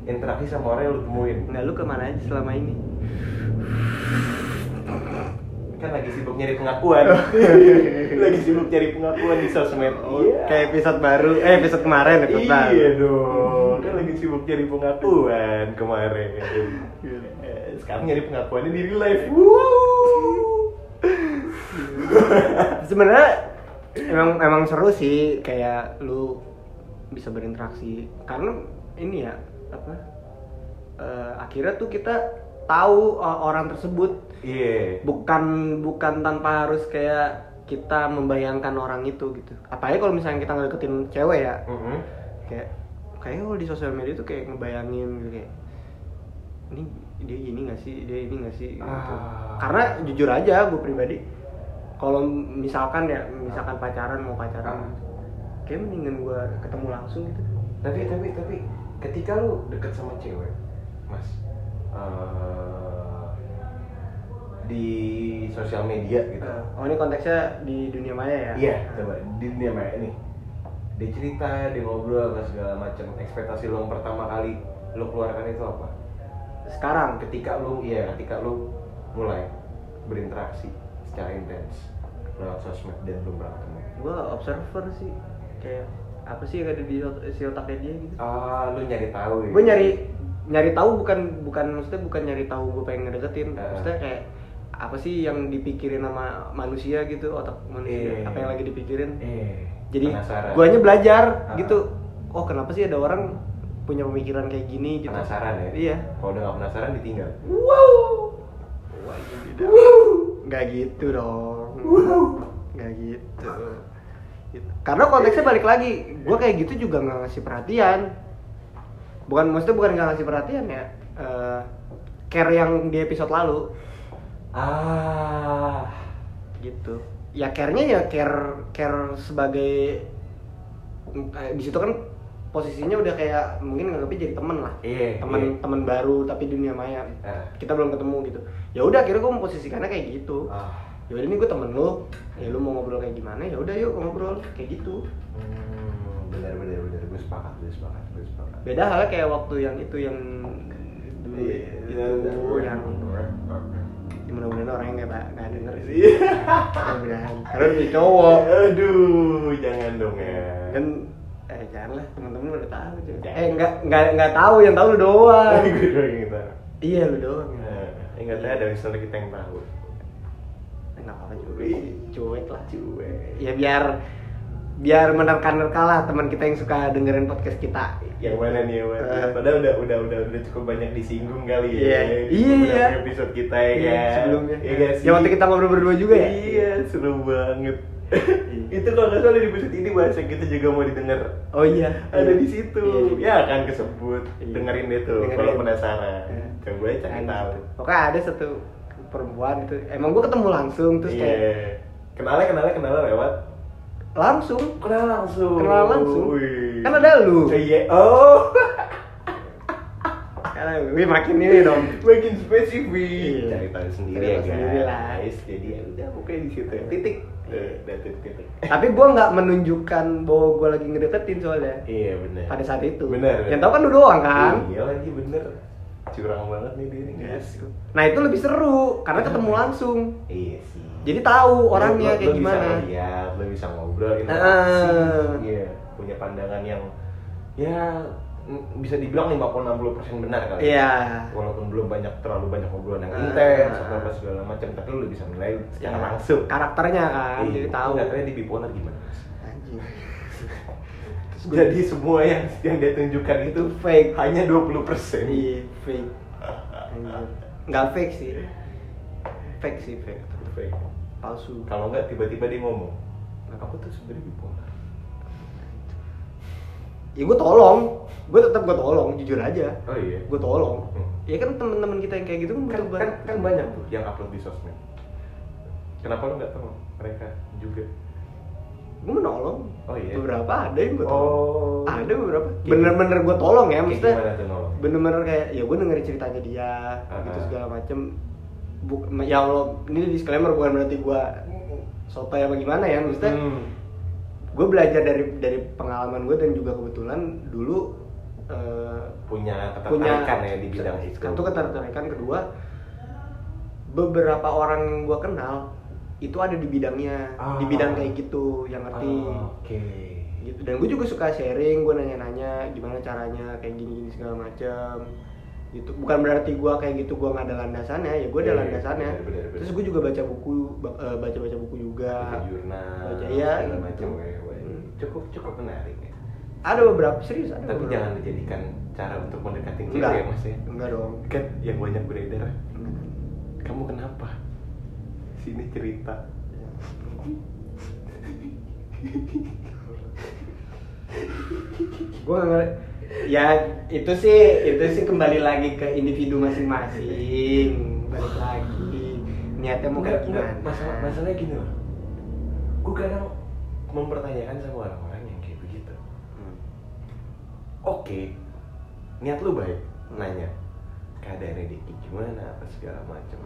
Speaker 2: interaksi sama orang yang lu temuin
Speaker 1: nah lu kemana aja selama ini
Speaker 2: Kan lagi sibuk nyari pengakuan Lagi sibuk nyari pengakuan di sosmed Iya.
Speaker 1: Oh, kayak episode baru eh episode kemarin episode baru
Speaker 2: Iya dong, kan lagi sibuk nyari pengakuan kemarin. Eh, Sekarang nyari pengakuannya di real life. Wuh.
Speaker 1: sebenarnya emang emang seru sih kayak lu bisa berinteraksi karena ini ya apa eh, akhirnya tuh kita tahu eh, orang tersebut
Speaker 2: Iya.
Speaker 1: bukan bukan tanpa harus kayak kita membayangkan orang itu gitu apalagi kalau misalnya kita ngedeketin cewek ya
Speaker 2: Mhm.
Speaker 1: kayak kayak kalau di sosial media tuh kayak ngebayangin gitu kayak ini dia gini gak sih dia ini gak sih gitu.
Speaker 2: Ah.
Speaker 1: karena jujur aja gue pribadi kalau misalkan ya misalkan pacaran mau
Speaker 2: Ah.
Speaker 1: pacaran kayak mendingan gue ketemu langsung gitu
Speaker 2: Tapi tapi tapi ketika lu deket sama cewek, Mas. eh, di sosial media gitu.
Speaker 1: oh ini konteksnya di dunia maya ya
Speaker 2: Iya, coba di dunia maya ini. Dia cerita, dia ngobrol, sama segala macam. Ekspektasi lo yang pertama kali lo keluarkan itu apa?
Speaker 1: sekarang
Speaker 2: ketika lu ya ketika lu mulai berinteraksi secara intens lewat sosmed dan belum pernah ketemu
Speaker 1: gue observer sih kayak apa sih yang ada di si otaknya dia gitu
Speaker 2: ah lu nyari tahu ya
Speaker 1: gue nyari nyari tahu bukan bukan maksudnya bukan nyari tahu gue pengen ngedeketin
Speaker 2: Ah.
Speaker 1: maksudnya kayak apa sih yang dipikirin sama manusia gitu otak
Speaker 2: Iya.
Speaker 1: manusia apa yang lagi dipikirin
Speaker 2: eh
Speaker 1: jadi
Speaker 2: penasaran
Speaker 1: guanya belajar
Speaker 2: Ah.
Speaker 1: gitu oh kenapa sih ada orang punya pemikiran kayak gini gitu
Speaker 2: penasaran ya
Speaker 1: iya
Speaker 2: kalau udah gak penasaran ditinggal
Speaker 1: wow nggak gitu dong nggak gitu. Gitu. Karena konteksnya balik lagi, gue kayak gitu juga nggak ngasih perhatian. Bukan maksudnya bukan nggak ngasih perhatian ya. eh, care yang di episode lalu
Speaker 2: ah
Speaker 1: gitu. Ya care-nya ya care care sebagai eh, di situ kan posisinya udah kayak mungkin nganggapnya jadi temen lah.
Speaker 2: iya
Speaker 1: Temen temen baru tapi dunia maya.
Speaker 2: iya. Ah,
Speaker 1: Kita belum ketemu gitu. Ya udah akhirnya gue memposisikannya kayak gitu.
Speaker 2: ah.
Speaker 1: ya udah ini gue temen lu ya lu mau ngobrol kayak gimana ya udah yuk ngobrol kayak gitu
Speaker 2: Hmm, benar benar benar gue sepakat gue sepakat gue sepakat
Speaker 1: beda halnya kayak waktu yang itu yang dulu
Speaker 2: Iya,
Speaker 1: itu yang ya mudah-mudahan orangnya nggak ba- nggak denger sih
Speaker 2: Iya.
Speaker 1: mudah-mudahan Iya. karena dia cowok
Speaker 2: Aduh, jangan dong ya.
Speaker 1: kan eh jangan lah temen-temen udah tahu cuy.
Speaker 2: Jangan.
Speaker 1: eh nggak nggak nggak tahu yang tahu lu doang
Speaker 2: gue doang yang tahu.
Speaker 1: iya lu doang
Speaker 2: Nah, Ingat aja ada listener kita yang tahu.
Speaker 1: Eh, nggak apa-apa juga
Speaker 2: Wih.
Speaker 1: cuek lah
Speaker 2: Cuek.
Speaker 1: ya biar biar menerka-nerka lah teman kita yang suka dengerin podcast kita
Speaker 2: Yang mana nih yang mana?
Speaker 1: Eh.
Speaker 2: Padahal udah udah udah udah cukup banyak disinggung kali
Speaker 1: Iya.
Speaker 2: ya.
Speaker 1: Iya,
Speaker 2: Beberapa
Speaker 1: iya.
Speaker 2: Episode kita ya
Speaker 1: Iya,
Speaker 2: kan.
Speaker 1: sebelumnya
Speaker 2: Iya
Speaker 1: ya,
Speaker 2: gak sih?
Speaker 1: waktu kita ngobrol berdua juga ya
Speaker 2: Iya, seru banget.
Speaker 1: Iya.
Speaker 2: Itu kalau nggak salah di episode ini bahasa kita juga mau didengar.
Speaker 1: oh iya
Speaker 2: Ada
Speaker 1: Iya.
Speaker 2: di situ.
Speaker 1: Iya, di-
Speaker 2: Ya akan kesebut.
Speaker 1: Iya.
Speaker 2: Dengerin deh tuh
Speaker 1: Dengerin.
Speaker 2: kalau penasaran.
Speaker 1: Iya.
Speaker 2: Coba aja cari
Speaker 1: Ada
Speaker 2: Ya, tahu.
Speaker 1: situ. pokoknya ada satu perempuan itu emang gue ketemu langsung terus
Speaker 2: Iya.
Speaker 1: kayak
Speaker 2: Kenalnya kenalnya kenalnya lewat
Speaker 1: langsung
Speaker 2: Kenal langsung.
Speaker 1: Kenal langsung.
Speaker 2: Wih.
Speaker 1: Kan ada lu.
Speaker 2: Iya. Oh.
Speaker 1: karena wih makin ini dong
Speaker 2: Makin spesifik.
Speaker 1: Iya.
Speaker 2: Cari tahu sendiri
Speaker 1: Cari
Speaker 2: ya
Speaker 1: tahu sendiri lah.
Speaker 2: guys. Jadi ya udah pokoknya di situ. ya. Titik.
Speaker 1: Iya.
Speaker 2: Eh, Udah titik titik.
Speaker 1: tapi gue nggak menunjukkan bahwa gue lagi ngedeketin soalnya
Speaker 2: Iya benar.
Speaker 1: pada saat itu
Speaker 2: Benar.
Speaker 1: yang tahu kan lu doang kan
Speaker 2: Iya lagi bener. Curang banget nih dia nih guys.
Speaker 1: nah itu lebih seru karena ketemu langsung
Speaker 2: Iya sih.
Speaker 1: jadi tahu orangnya
Speaker 2: Lo- lo-
Speaker 1: kayak
Speaker 2: lo
Speaker 1: gimana
Speaker 2: Bisa iya. lihat, lo bisa ngobrol,
Speaker 1: Ah.
Speaker 2: interaksi, Iya, punya pandangan yang ya mm, bisa dibilang 50-60% benar kali.
Speaker 1: iya
Speaker 2: walaupun belum banyak terlalu banyak obrolan yang
Speaker 1: Ah.
Speaker 2: intens atau apa segala macam tapi lu bisa menilai secara
Speaker 1: Iya.
Speaker 2: langsung
Speaker 1: karakternya kan jadi tahu
Speaker 2: katanya Iya. di bipolar gimana Mas?
Speaker 1: anjing
Speaker 2: jadi semua yang yang dia tunjukkan itu
Speaker 1: itu fake
Speaker 2: hanya 20 persen
Speaker 1: Iya, fake. Anjir. Nggak fake sih. Fake sih, fake.
Speaker 2: fake
Speaker 1: Palsu.
Speaker 2: kalau nggak tiba-tiba dia ngomong aku tuh sebenarnya bipolar
Speaker 1: Ya gue tolong. Gue tetap gue tolong, jujur aja.
Speaker 2: oh iya
Speaker 1: Gue tolong.
Speaker 2: Hmm.
Speaker 1: Ya kan temen-temen kita yang kayak gitu kan
Speaker 2: kan,
Speaker 1: butuh
Speaker 2: kan,
Speaker 1: banget.
Speaker 2: kan banyak tuh yang upload di sosmed kenapa lu nggak tahu mereka juga
Speaker 1: Gue menolong.
Speaker 2: Oh, iya.
Speaker 1: Beberapa ada yang gue
Speaker 2: oh
Speaker 1: tolong. Ada beberapa.
Speaker 2: Kayak-
Speaker 1: Bener-bener gue tolong ya,
Speaker 2: kayak
Speaker 1: maksudnya.
Speaker 2: gimana tuh nolong
Speaker 1: Bener-bener kayak ya gue dengerin ceritanya dia,
Speaker 2: Ah,
Speaker 1: gitu
Speaker 2: ah.
Speaker 1: segala macem. Bu- ya Allah, ini disclaimer bukan berarti gue sotoy apa gimana ya, maksudnya.
Speaker 2: Hmm.
Speaker 1: gue belajar dari dari pengalaman gue dan juga kebetulan dulu eh,
Speaker 2: punya
Speaker 1: punya
Speaker 2: ketertarikan ya di bidang itu
Speaker 1: satu ketertarikan kedua beberapa orang yang gue kenal itu ada di bidangnya
Speaker 2: Ah.
Speaker 1: di bidang kayak gitu yang ngerti
Speaker 2: Ah, Oke.
Speaker 1: gitu dan gue juga suka sharing gue nanya-nanya gimana caranya kayak gini-gini segala macam gitu bukan berarti gue kayak gitu gue nggak ada landasannya ya gue ada
Speaker 2: Iya,
Speaker 1: landasannya
Speaker 2: benar, benar, benar.
Speaker 1: terus gue juga baca buku ba- eh, baca-baca buku juga
Speaker 2: Baca jurnal,
Speaker 1: Baca, iya,
Speaker 2: segala
Speaker 1: gitu.
Speaker 2: macam ya, wah, ini
Speaker 1: Hmm.
Speaker 2: Cukup cukup menarik ya.
Speaker 1: ada beberapa serius ada
Speaker 2: Tapi
Speaker 1: beberapa.
Speaker 2: jangan dijadikan cara untuk mendekati cewek
Speaker 1: Enggak.
Speaker 2: ya Mas ya.
Speaker 1: Enggak dong.
Speaker 2: Kan yang banyak beredar, kamu kenapa? Sini cerita.
Speaker 1: Gue ngerti. Ya itu sih itu sih kembali lagi ke individu masing-masing. Balik lagi niatnya mau kayak gimana.
Speaker 2: masalah masalahnya gini loh. Gue kadang mempertanyakan sama orang-orang yang kayak begitu.
Speaker 1: Hmm.
Speaker 2: Oke, niat lu baik, nanya keadaannya Diki gimana apa segala macam.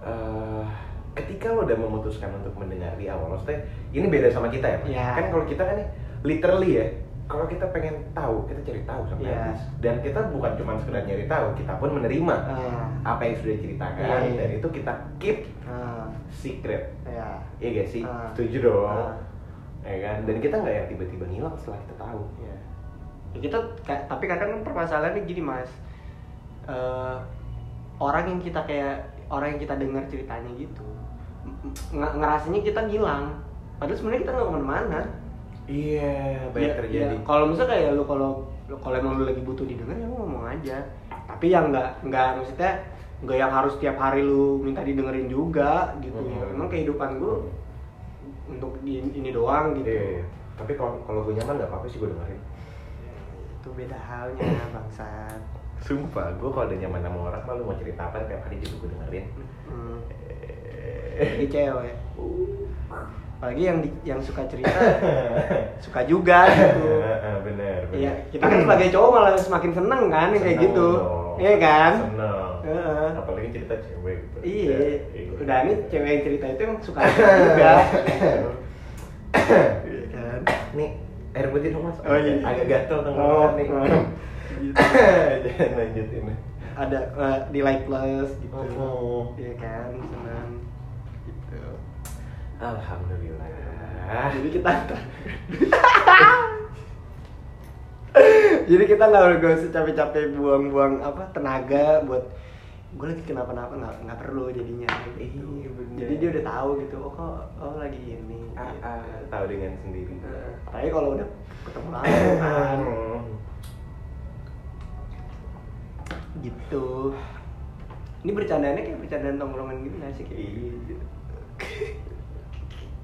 Speaker 2: eh ketika lo udah memutuskan untuk mendengar di awal, maksudnya ini beda sama kita ya, Pak?
Speaker 1: Iya.
Speaker 2: kan kalau kita kan nih, literally ya, kalau kita pengen tahu, kita cari tahu sampai
Speaker 1: Iya.
Speaker 2: habis. Dan kita bukan cuma sekedar nyari tahu, kita pun menerima
Speaker 1: Ah,
Speaker 2: apa yang sudah diceritakan
Speaker 1: Iya, iya.
Speaker 2: dan itu kita keep
Speaker 1: ah,
Speaker 2: secret,
Speaker 1: ya.
Speaker 2: iya gak sih?
Speaker 1: Ah.
Speaker 2: Setuju dong,
Speaker 1: Ah.
Speaker 2: ya kan? Dan kita nggak yang tiba-tiba ngilang setelah kita tahu.
Speaker 1: Ya. Ya, kita ka- tapi kadang kan permasalahannya gini mas Eh, orang yang kita kayak orang yang kita dengar ceritanya gitu m- m- ngerasanya kita ngilang padahal sebenarnya kita nggak kemana-mana
Speaker 2: Iya, banyak
Speaker 1: Ya,
Speaker 2: terjadi.
Speaker 1: ya, kalau misalnya kayak lu kalau lu- kalau emang lu lagi butuh didengar ya lu ngomong aja tapi yang nggak nggak maksudnya nggak yang harus tiap hari lu minta didengerin juga gitu
Speaker 2: Mhm.
Speaker 1: emang kehidupan gua untuk di- ini doang gitu
Speaker 2: Iya, iya. tapi kalau kalau gue nyaman nggak apa-apa sih gue dengerin
Speaker 1: itu beda halnya bangsat
Speaker 2: sumpah gue kalau udah nyaman sama orang malu mau cerita apa tiap hari juga gue dengerin
Speaker 1: hmm. Ini cewek apalagi yang di- yang suka cerita suka juga
Speaker 2: Heeh,
Speaker 1: gitu
Speaker 2: Iya, eh, bener bener
Speaker 1: Iya, kita kan sebagai cowok malah semakin seneng kan yang kayak
Speaker 2: Seneng
Speaker 1: gitu.
Speaker 2: dong.
Speaker 1: Iya kan?
Speaker 2: seneng
Speaker 1: Heeh.
Speaker 2: apalagi cerita cewek gitu
Speaker 1: Iya.
Speaker 2: Ya, iya.
Speaker 1: Udah nih cewek yang cerita itu yang suka juga. Iya kan?
Speaker 2: nih air putih dong mas
Speaker 1: Oh, iya.
Speaker 2: agak gatel dong
Speaker 1: Oh,
Speaker 2: nih
Speaker 1: oh.
Speaker 2: jangan lanjutin
Speaker 1: Ada eh, di like plus gitu.
Speaker 2: Oh.
Speaker 1: Iya kan? Senang. Gitu.
Speaker 2: alhamdulillah
Speaker 1: Jadi kita Jadi kita nggak gak usah capek-capek buang-buang apa tenaga buat gue lagi kenapa-napa nggak nggak perlu jadinya gitu.
Speaker 2: Iya, bener.
Speaker 1: jadi dia udah tahu gitu oh kok oh lagi ini
Speaker 2: Ah,
Speaker 1: gitu.
Speaker 2: ah, tahu dengan sendiri
Speaker 1: Nah, tapi kalau udah ketemu langsung kan gitu ini bercandanya kayak bercandaan tongkrongan gitu nggak sih kayak
Speaker 2: Iya.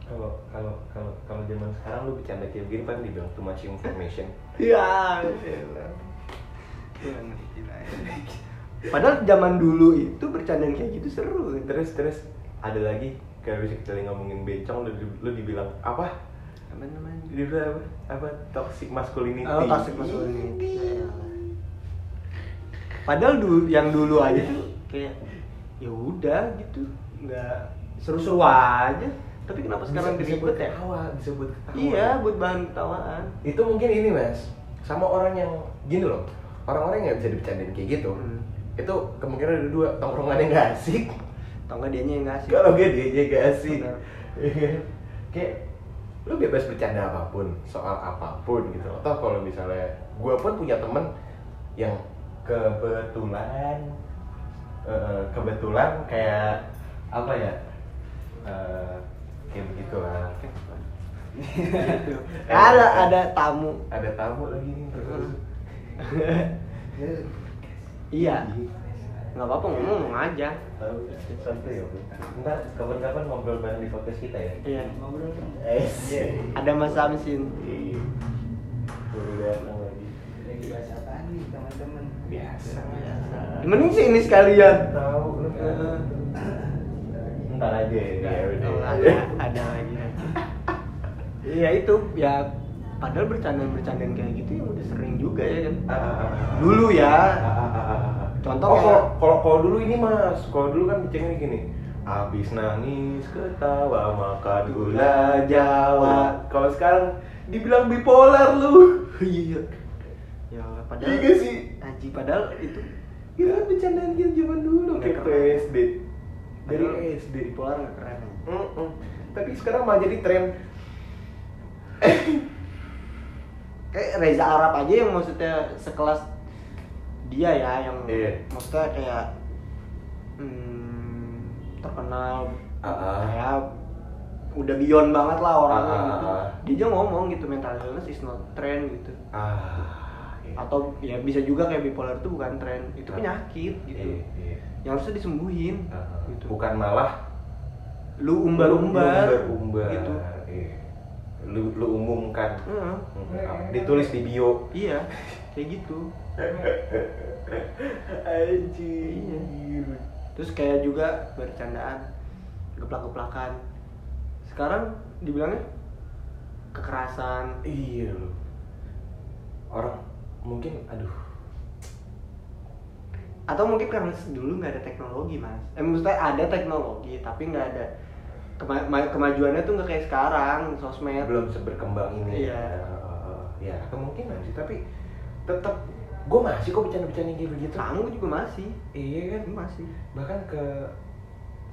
Speaker 2: kalau kalau kalau kalau zaman sekarang lu bercanda kayak begini paling dibilang too much information
Speaker 1: ya elah. Gua ngerti lah ya. padahal zaman dulu itu bercandaan kayak gitu seru kan?
Speaker 2: terus terus ada lagi kayak bisa kita ngomongin bencong lu, di- lu dibilang apa
Speaker 1: apa namanya
Speaker 2: dibilang apa apa toxic masculinity Iya.
Speaker 1: oh toxic masculinity Ya elah. padahal dulu yang dulu aja tuh kayak ya udah gitu nggak seru-seru aja tapi kenapa sekarang
Speaker 2: bisa, bisa
Speaker 1: disebut
Speaker 2: buat
Speaker 1: ya
Speaker 2: ketawa bisa buat ketawa
Speaker 1: iya buat bahan ketawaan
Speaker 2: itu mungkin ini mas sama orang yang gini loh orang-orang yang nggak bisa dibercandain kayak gitu
Speaker 1: Hmm.
Speaker 2: itu kemungkinan ada dua tongkrongan yang nggak asik
Speaker 1: Tau nggak dianya yang nggak asik
Speaker 2: kalau gue dia aja nggak asik
Speaker 1: Benar.
Speaker 2: Iya kan? kayak lu bebas bercanda apapun soal apapun gitu atau kalau misalnya gue pun punya temen yang kebetulan eh, kebetulan kayak apa ya Eh, kayak begitulah
Speaker 1: Gitu. ada ada tamu
Speaker 2: ada tamu lagi nih terus
Speaker 1: iya nggak apa-apa ngomong ngomong aja
Speaker 2: Tahu, santai ya Bu. ntar kapan-kapan ngobrol bareng di podcast kita ya
Speaker 1: iya
Speaker 2: eh
Speaker 1: ada mas Samsin
Speaker 2: baru datang lagi
Speaker 3: lagi bahas apaan nih teman-teman
Speaker 2: biasa
Speaker 3: Biasa.
Speaker 1: mending sih ini sekalian
Speaker 2: tahu lu
Speaker 1: Eh,
Speaker 2: ntar aja ya ya udah
Speaker 1: oh, ada ada lagi iya itu ya padahal bercandaan bercandaan kayak gitu ya udah sering juga ya kan
Speaker 2: Ah, ah, ah.
Speaker 1: dulu
Speaker 2: Ah,
Speaker 1: ya
Speaker 2: ah, ah, ah.
Speaker 1: Contoh
Speaker 2: oh,
Speaker 1: kayak-
Speaker 2: kalau- kalau kalau dulu ini mas kalau dulu kan bicaranya gini habis nangis ketawa makan gula jawa kalau sekarang dibilang bipolar lu
Speaker 1: iya ya padahal
Speaker 2: Iya nggak sih?
Speaker 1: Aji padahal itu
Speaker 2: itu kan bercandaan kita zaman dulu
Speaker 1: Nggak
Speaker 2: kayak
Speaker 1: keren.
Speaker 2: SD dari
Speaker 1: Padahal
Speaker 2: SD
Speaker 1: bipolar nggak keren
Speaker 2: Mm-mm. tapi sekarang malah jadi tren
Speaker 1: kayak Reza Arab aja yang maksudnya sekelas dia ya yang
Speaker 2: Iya.
Speaker 1: maksudnya kayak hmm, terkenal
Speaker 2: Ah, ah.
Speaker 1: kayak udah beyond banget lah orangnya
Speaker 2: Ah, ah,
Speaker 1: gitu.
Speaker 2: ah.
Speaker 1: Dia juga ngomong gitu mental illness is not trend gitu.
Speaker 2: ah iya.
Speaker 1: Atau ya bisa juga kayak bipolar itu bukan tren, itu
Speaker 2: Ah.
Speaker 1: penyakit gitu.
Speaker 2: Iya, iya.
Speaker 1: Yang harusnya disembuhin
Speaker 2: Ah,
Speaker 1: gitu.
Speaker 2: bukan malah
Speaker 1: Lu umbar-umbar
Speaker 2: umbar
Speaker 1: gitu.
Speaker 2: Iya. lu lu umumkan
Speaker 1: Heeh.
Speaker 2: Hmm, ditulis di bio
Speaker 1: iya, kayak gitu.
Speaker 2: anjir
Speaker 1: terus kayak juga bercandaan geplak-geplakan sekarang dibilangnya kekerasan
Speaker 2: iya lu orang mungkin aduh
Speaker 1: atau mungkin karena dulu nggak ada teknologi mas eh maksudnya ada teknologi tapi nggak ada kema- ma- kemajuannya tuh nggak kayak sekarang sosmed
Speaker 2: belum seberkembang ini
Speaker 1: Iya.
Speaker 2: Eh, ya kemungkinan sih tapi tetap gue masih kok bercanda-bercanda kayak begitu
Speaker 1: kamu juga masih
Speaker 2: iya kan
Speaker 1: Kamu masih
Speaker 2: bahkan ke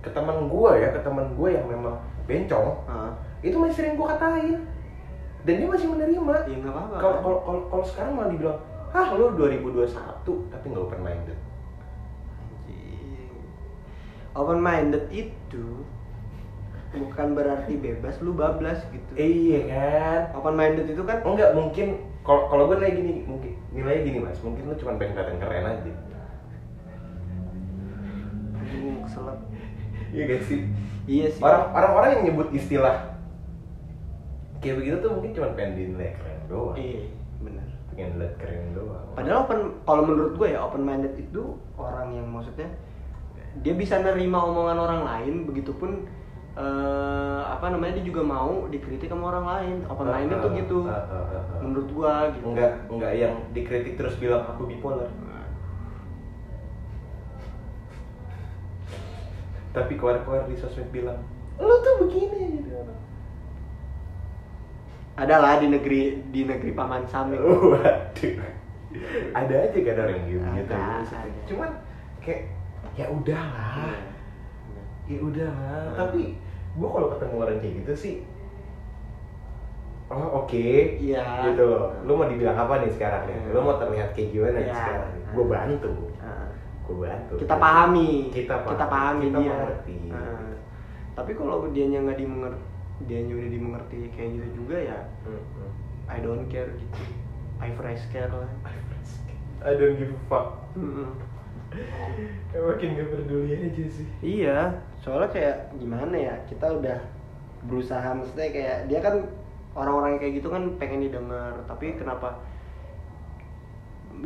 Speaker 2: ke teman gue ya ke teman gue yang memang bencong
Speaker 1: ah
Speaker 2: itu masih sering gue katain dan dia masih menerima
Speaker 1: ya nggak apa-apa
Speaker 2: kalau
Speaker 1: kan?
Speaker 2: kalau kalau- kalau sekarang malah dibilang ah lu 2021 tapi nggak open minded
Speaker 1: Anjing. open minded itu bukan berarti bebas lu bablas gitu
Speaker 2: eh, iya Oh. kan
Speaker 1: open minded itu kan
Speaker 2: enggak mungkin kalau kalau gue nilai gini mungkin nilainya gini mas mungkin lu cuma pengen kelihatan keren aja
Speaker 1: Aduh, keselak
Speaker 2: iya gak sih
Speaker 1: Iya sih. Iya
Speaker 2: orang orang orang yang nyebut istilah kayak begitu tuh mungkin cuma pengen dinilai keren doang
Speaker 1: Iya, benar.
Speaker 2: pengen dilihat keren doang
Speaker 1: Padahal open, kalau menurut gue ya open minded itu orang yang maksudnya dia bisa nerima omongan orang lain, begitupun eh, apa namanya dia juga mau dikritik sama orang lain. Open minded tuh gitu,
Speaker 2: Ah, ah, ah, ah.
Speaker 1: menurut gue gitu.
Speaker 2: enggak enggak yang dikritik terus bilang aku bipolar tapi keluar-keluar di sosmed bilang lu tuh begini gitu
Speaker 1: Ada lah di negeri di negeri paman Sam itu.
Speaker 2: Uh. waduh ada aja kan orang yang gitu gitu
Speaker 1: Ada, ada.
Speaker 2: cuman kayak ya udahlah ya udahlah
Speaker 1: Hmm.
Speaker 2: tapi gua kalau ketemu orang kayak gitu sih oh oke
Speaker 1: Iya.
Speaker 2: gitu loh lu mau dibilang apa nih sekarang nih
Speaker 1: Hmm.
Speaker 2: lu mau terlihat kayak gimana nih
Speaker 1: Iya.
Speaker 2: sekarang nih? gua bantu
Speaker 1: Ah.
Speaker 2: gua bantu
Speaker 1: kita pahami
Speaker 2: kita pahami kita
Speaker 1: dia
Speaker 2: mengerti.
Speaker 1: Nah, tapi kalau dianya nggak dimengerti dianya udah dimengerti kayak gitu juga ya
Speaker 2: Hmm, hmm.
Speaker 1: I don't care gitu I fresh care lah
Speaker 2: I don't give a fuck
Speaker 1: Mm-mm.
Speaker 2: makin gak peduli aja sih
Speaker 1: iya soalnya kayak gimana ya kita udah berusaha maksudnya kayak dia kan orang-orang yang kayak gitu kan pengen didengar tapi kenapa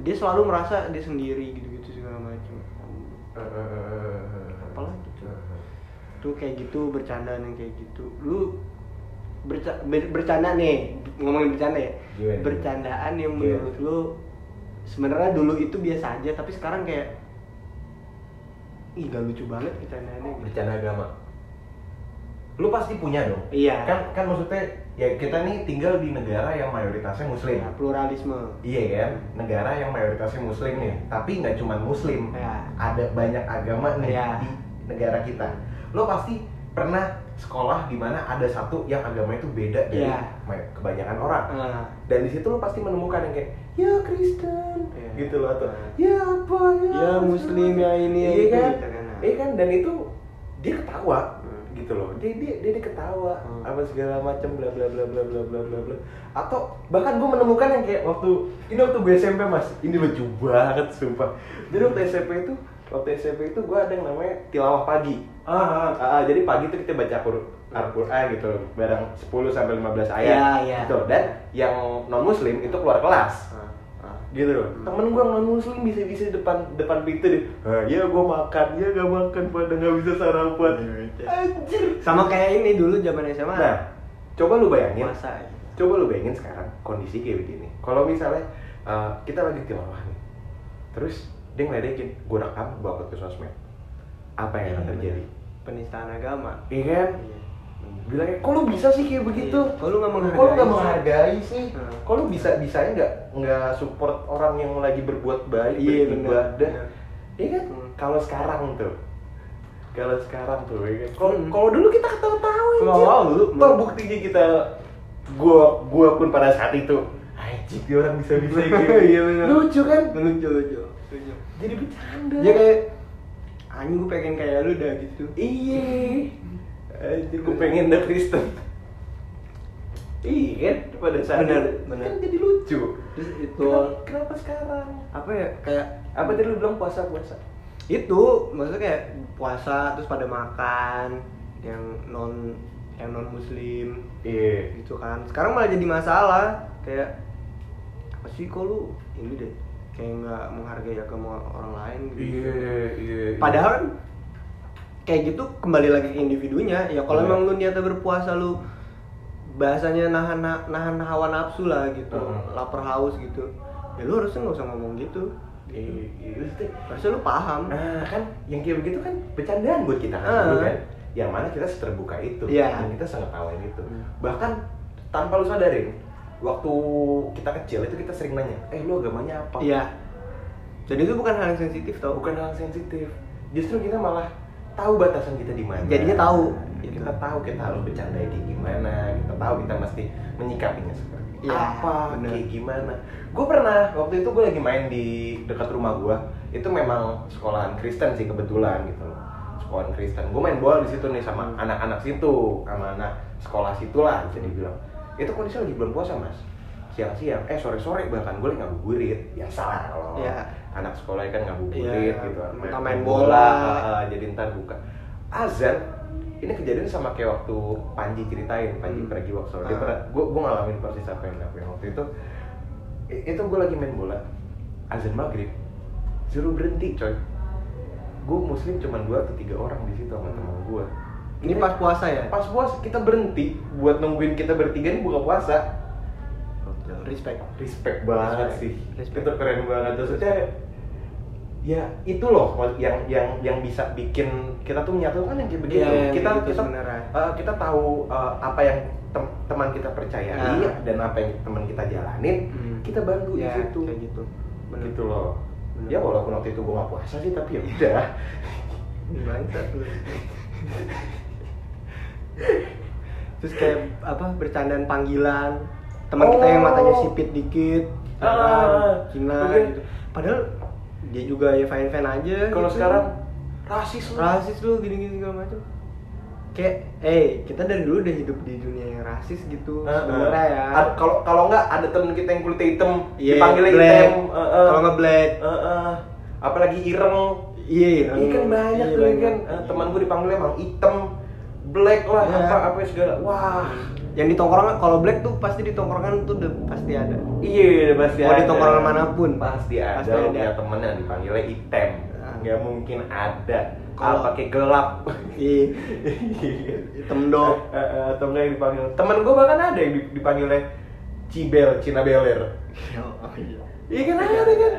Speaker 1: dia selalu merasa dia sendiri gitu-gitu segala macam Apalagi tuh? tuh kayak gitu bercandaan yang kayak gitu lu berca ber- bercanda nih ngomongin bercanda ya
Speaker 2: Gimana?
Speaker 1: bercandaan yang
Speaker 2: Gimana?
Speaker 1: menurut lu sebenarnya dulu itu biasa aja tapi sekarang kayak ih gak lucu banget bercandaannya gitu
Speaker 2: bercanda agama lu pasti punya dong
Speaker 1: Iya.
Speaker 2: kan kan maksudnya ya kita nih tinggal di negara yang mayoritasnya muslim
Speaker 1: Ya, pluralisme
Speaker 2: Iya kan, negara yang mayoritasnya muslim nih, tapi nggak cuma muslim,
Speaker 1: Ya.
Speaker 2: ada banyak agama nih
Speaker 1: Ya.
Speaker 2: di negara kita. Lo pasti pernah sekolah di mana ada satu yang agama itu beda dari
Speaker 1: Ya.
Speaker 2: may- kebanyakan orang.
Speaker 1: nah,
Speaker 2: Dan di situ lo pasti menemukan yang kayak, ya Kristen,
Speaker 1: Ya.
Speaker 2: gitu loh atau
Speaker 1: Ya.
Speaker 2: ya apa ya,
Speaker 1: Ya, Muslim, ya ini, ya
Speaker 2: iya
Speaker 1: itu,
Speaker 2: kan,
Speaker 1: gitu kan, nah.
Speaker 2: iya kan, dan itu dia ketawa
Speaker 1: Hmm.
Speaker 2: gitu loh dia dia dia, dia ketawa
Speaker 1: Hmm.
Speaker 2: apa segala macam bla bla bla bla bla bla bla bla atau bahkan gue menemukan yang kayak waktu ini waktu gue SMP mas ini lucu banget sumpah jadi waktu SMP itu waktu SMP itu gue ada yang namanya tilawah pagi ah, ah, jadi pagi itu kita baca Qur- Al-Qur'an gitu barang 10 sampai 15 ayat
Speaker 1: Iya, iya.
Speaker 2: gitu dan yang non muslim itu keluar kelas
Speaker 1: ah, ah.
Speaker 2: gitu loh temen gue non muslim bisa bisa depan depan pintu deh "Ah, ya gue makan ya gak makan pada nggak bisa sarapan anjir
Speaker 1: sama kayak ini dulu zaman SMA
Speaker 2: nah iya. coba lu bayangin
Speaker 1: masa ya?
Speaker 2: coba lu bayangin sekarang kondisi kayak begini kalau misalnya eh, kita lagi tilawah nih terus dia ngeledekin gue rekam gue upload ke sosmed apa yang
Speaker 1: Iya,
Speaker 2: akan terjadi
Speaker 1: penistaan agama
Speaker 2: iya kan bilangnya kok lu bisa sih kayak begitu
Speaker 1: Iya. Kok lu nggak menghargai
Speaker 2: Kok Oh, lu nggak
Speaker 1: sih?"
Speaker 2: menghargai sih
Speaker 1: Hmm.
Speaker 2: kok lu bisa bisanya nggak nggak support orang yang lagi berbuat baik
Speaker 1: Iya,
Speaker 2: beribadah
Speaker 1: bener.
Speaker 2: iya kan
Speaker 1: Hmm.
Speaker 2: kalau sekarang tuh kalau sekarang tuh ya kan kalau
Speaker 1: Hmm.
Speaker 2: kalau dulu kita ketawa-tawa
Speaker 1: Kalau
Speaker 2: anjir.
Speaker 1: dulu,
Speaker 2: Toh
Speaker 1: hmm.
Speaker 2: buktinya kita gua gua pun pada saat itu anjir dia orang bisa bisa
Speaker 1: Iya, bener.
Speaker 2: lucu kan
Speaker 1: lucu lucu lucu
Speaker 2: jadi bercanda
Speaker 1: dia Iya, kayak anjing gue pengen kayak lu dah gitu
Speaker 2: iya anjir gua pengen deh Kristen iya kan pada saat
Speaker 1: Bener,
Speaker 2: itu
Speaker 1: bener.
Speaker 2: kan jadi lucu
Speaker 1: terus itu
Speaker 2: kenapa, kenapa sekarang
Speaker 1: apa ya kayak
Speaker 2: apa tadi lu bilang puasa puasa
Speaker 1: itu maksudnya kayak puasa terus pada makan yang non yang non muslim
Speaker 2: iya
Speaker 1: gitu kan sekarang malah jadi masalah kayak apa sih kok lu ini deh kayak nggak menghargai agama orang lain gitu
Speaker 2: iya
Speaker 1: Padahal kan kayak gitu kembali lagi ke individunya. Ya kalau
Speaker 2: Iya.
Speaker 1: emang lu niatnya berpuasa lu bahasanya nahan nahan hawa nafsu lah gitu,
Speaker 2: Heeh.
Speaker 1: lapar haus gitu. Ya lu harusnya nggak usah ngomong gitu.
Speaker 2: iya iya
Speaker 1: Harusnya lu paham.
Speaker 2: Nah kan yang kayak begitu kan bercandaan buat kita kan
Speaker 1: Ah.
Speaker 2: dulu kan Yang mana kita seterbuka itu
Speaker 1: Iya.
Speaker 2: Dan kita sengetawain itu
Speaker 1: Hmm.
Speaker 2: Bahkan tanpa lu sadarin Waktu kita kecil itu kita sering nanya Eh lu agamanya apa?
Speaker 1: Iya. Dan itu bukan hal yang sensitif tau.
Speaker 2: Bukan hal sensitif Justru kita malah tahu batasan kita di mana Ya,
Speaker 1: Jadinya tahu, gitu.
Speaker 2: Kita tahu kita harus bercanda kayak gimana Kita tahu kita mesti menyikapinya seperti
Speaker 1: Iya,
Speaker 2: apa
Speaker 1: bener.
Speaker 2: kayak gimana gue pernah waktu itu gue lagi main di dekat rumah gue itu memang sekolahan Kristen sih kebetulan gitu loh sekolahan Kristen gue main bola di situ nih sama
Speaker 1: Hmm.
Speaker 2: anak-anak situ sama anak sekolah situ lah bisa dibilang itu kondisi lagi bulan puasa mas siang-siang eh sore-sore bahkan gue lagi ngabuburit biasa lah kalau
Speaker 1: Iya.
Speaker 2: anak sekolah kan ngabuburit
Speaker 1: Iya,
Speaker 2: gitu
Speaker 1: mereka main bola.
Speaker 2: ah, ah, jadi ntar buka azan ini kejadian sama kayak waktu Panji ceritain Panji
Speaker 1: Hmm.
Speaker 2: pergi waktu dia
Speaker 4: Ah.
Speaker 2: pernah gue gue ngalamin persis apa yang dilakuin waktu itu i- itu gue lagi main bola azan maghrib suruh berhenti coy gue muslim cuman dua atau tiga orang di situ sama teman gue
Speaker 1: Hmm. Ini pas puasa ya?
Speaker 2: pas puasa kita berhenti buat nungguin kita bertiga ini buka puasa
Speaker 1: Respect.
Speaker 2: respect banget sih
Speaker 1: Respect. Respect.
Speaker 2: itu keren banget maksudnya ya itu loh yang yang yang bisa bikin kita tuh menyatu kan yang kayak begitu
Speaker 1: Iya, yang
Speaker 2: kita
Speaker 1: gitu
Speaker 2: kita
Speaker 1: sebenarnya.
Speaker 2: eh, kita tahu eh, apa yang tem- teman kita percayai
Speaker 1: Nah.
Speaker 2: dan apa yang teman kita jalanin
Speaker 1: Hmm.
Speaker 2: kita bantu
Speaker 1: Ya,
Speaker 2: di situ
Speaker 1: kayak gitu. Bener.
Speaker 2: gitu loh
Speaker 1: Bener.
Speaker 2: ya
Speaker 1: Iya.
Speaker 2: walaupun waktu itu gua gak puasa sih tapi ya udah
Speaker 1: Bangsat lu. Terus kayak apa bercandaan panggilan teman kita yang matanya
Speaker 2: Oh.
Speaker 1: sipit dikit,
Speaker 2: Ah.
Speaker 1: ah, Cina
Speaker 2: Mungkin.
Speaker 1: gitu. Padahal dia juga ya fine fine aja.
Speaker 2: kalau
Speaker 1: gitu.
Speaker 2: sekarang rasis lu
Speaker 1: rasis lu gini gini segala macam. Kayak, eh kita dari dulu udah hidup di dunia yang rasis gitu
Speaker 2: Heeh.
Speaker 1: sebenarnya ya.
Speaker 2: Ah, Ad- kalau kalau nggak ada temen kita yang kulitnya hitem
Speaker 1: Iya,
Speaker 2: dipanggilnya
Speaker 1: black.
Speaker 2: hitam eh, eh.
Speaker 1: Kalau nggak black.
Speaker 2: Eh, eh. apalagi ireng
Speaker 1: Iya, iya.
Speaker 2: ini kan banyak tuh kan Eh, teman gue dipanggilnya emang hitam black lah
Speaker 1: Iya.
Speaker 2: apa apa segala wah
Speaker 1: yang di tongkrongan kalau black tuh pasti di tongkrongan tuh udah pasti ada.
Speaker 2: Iya pasti
Speaker 1: Mau
Speaker 2: ada.
Speaker 1: di tongkrongan manapun.
Speaker 2: pasti ada.
Speaker 1: Pasti
Speaker 2: Pasti ada.
Speaker 1: ada.
Speaker 2: Punya temen yang dipanggilnya item,
Speaker 1: Ah.
Speaker 2: nggak mungkin ada. Kalau
Speaker 1: Kalau-
Speaker 2: pakai gelap.
Speaker 1: Iya, hitam dong.
Speaker 2: Eh, eh, Atau nggak yang dipanggil. Temen gue bahkan ada yang dip- dipanggilnya Cibel, Cina Beler. Iya kan ada kan.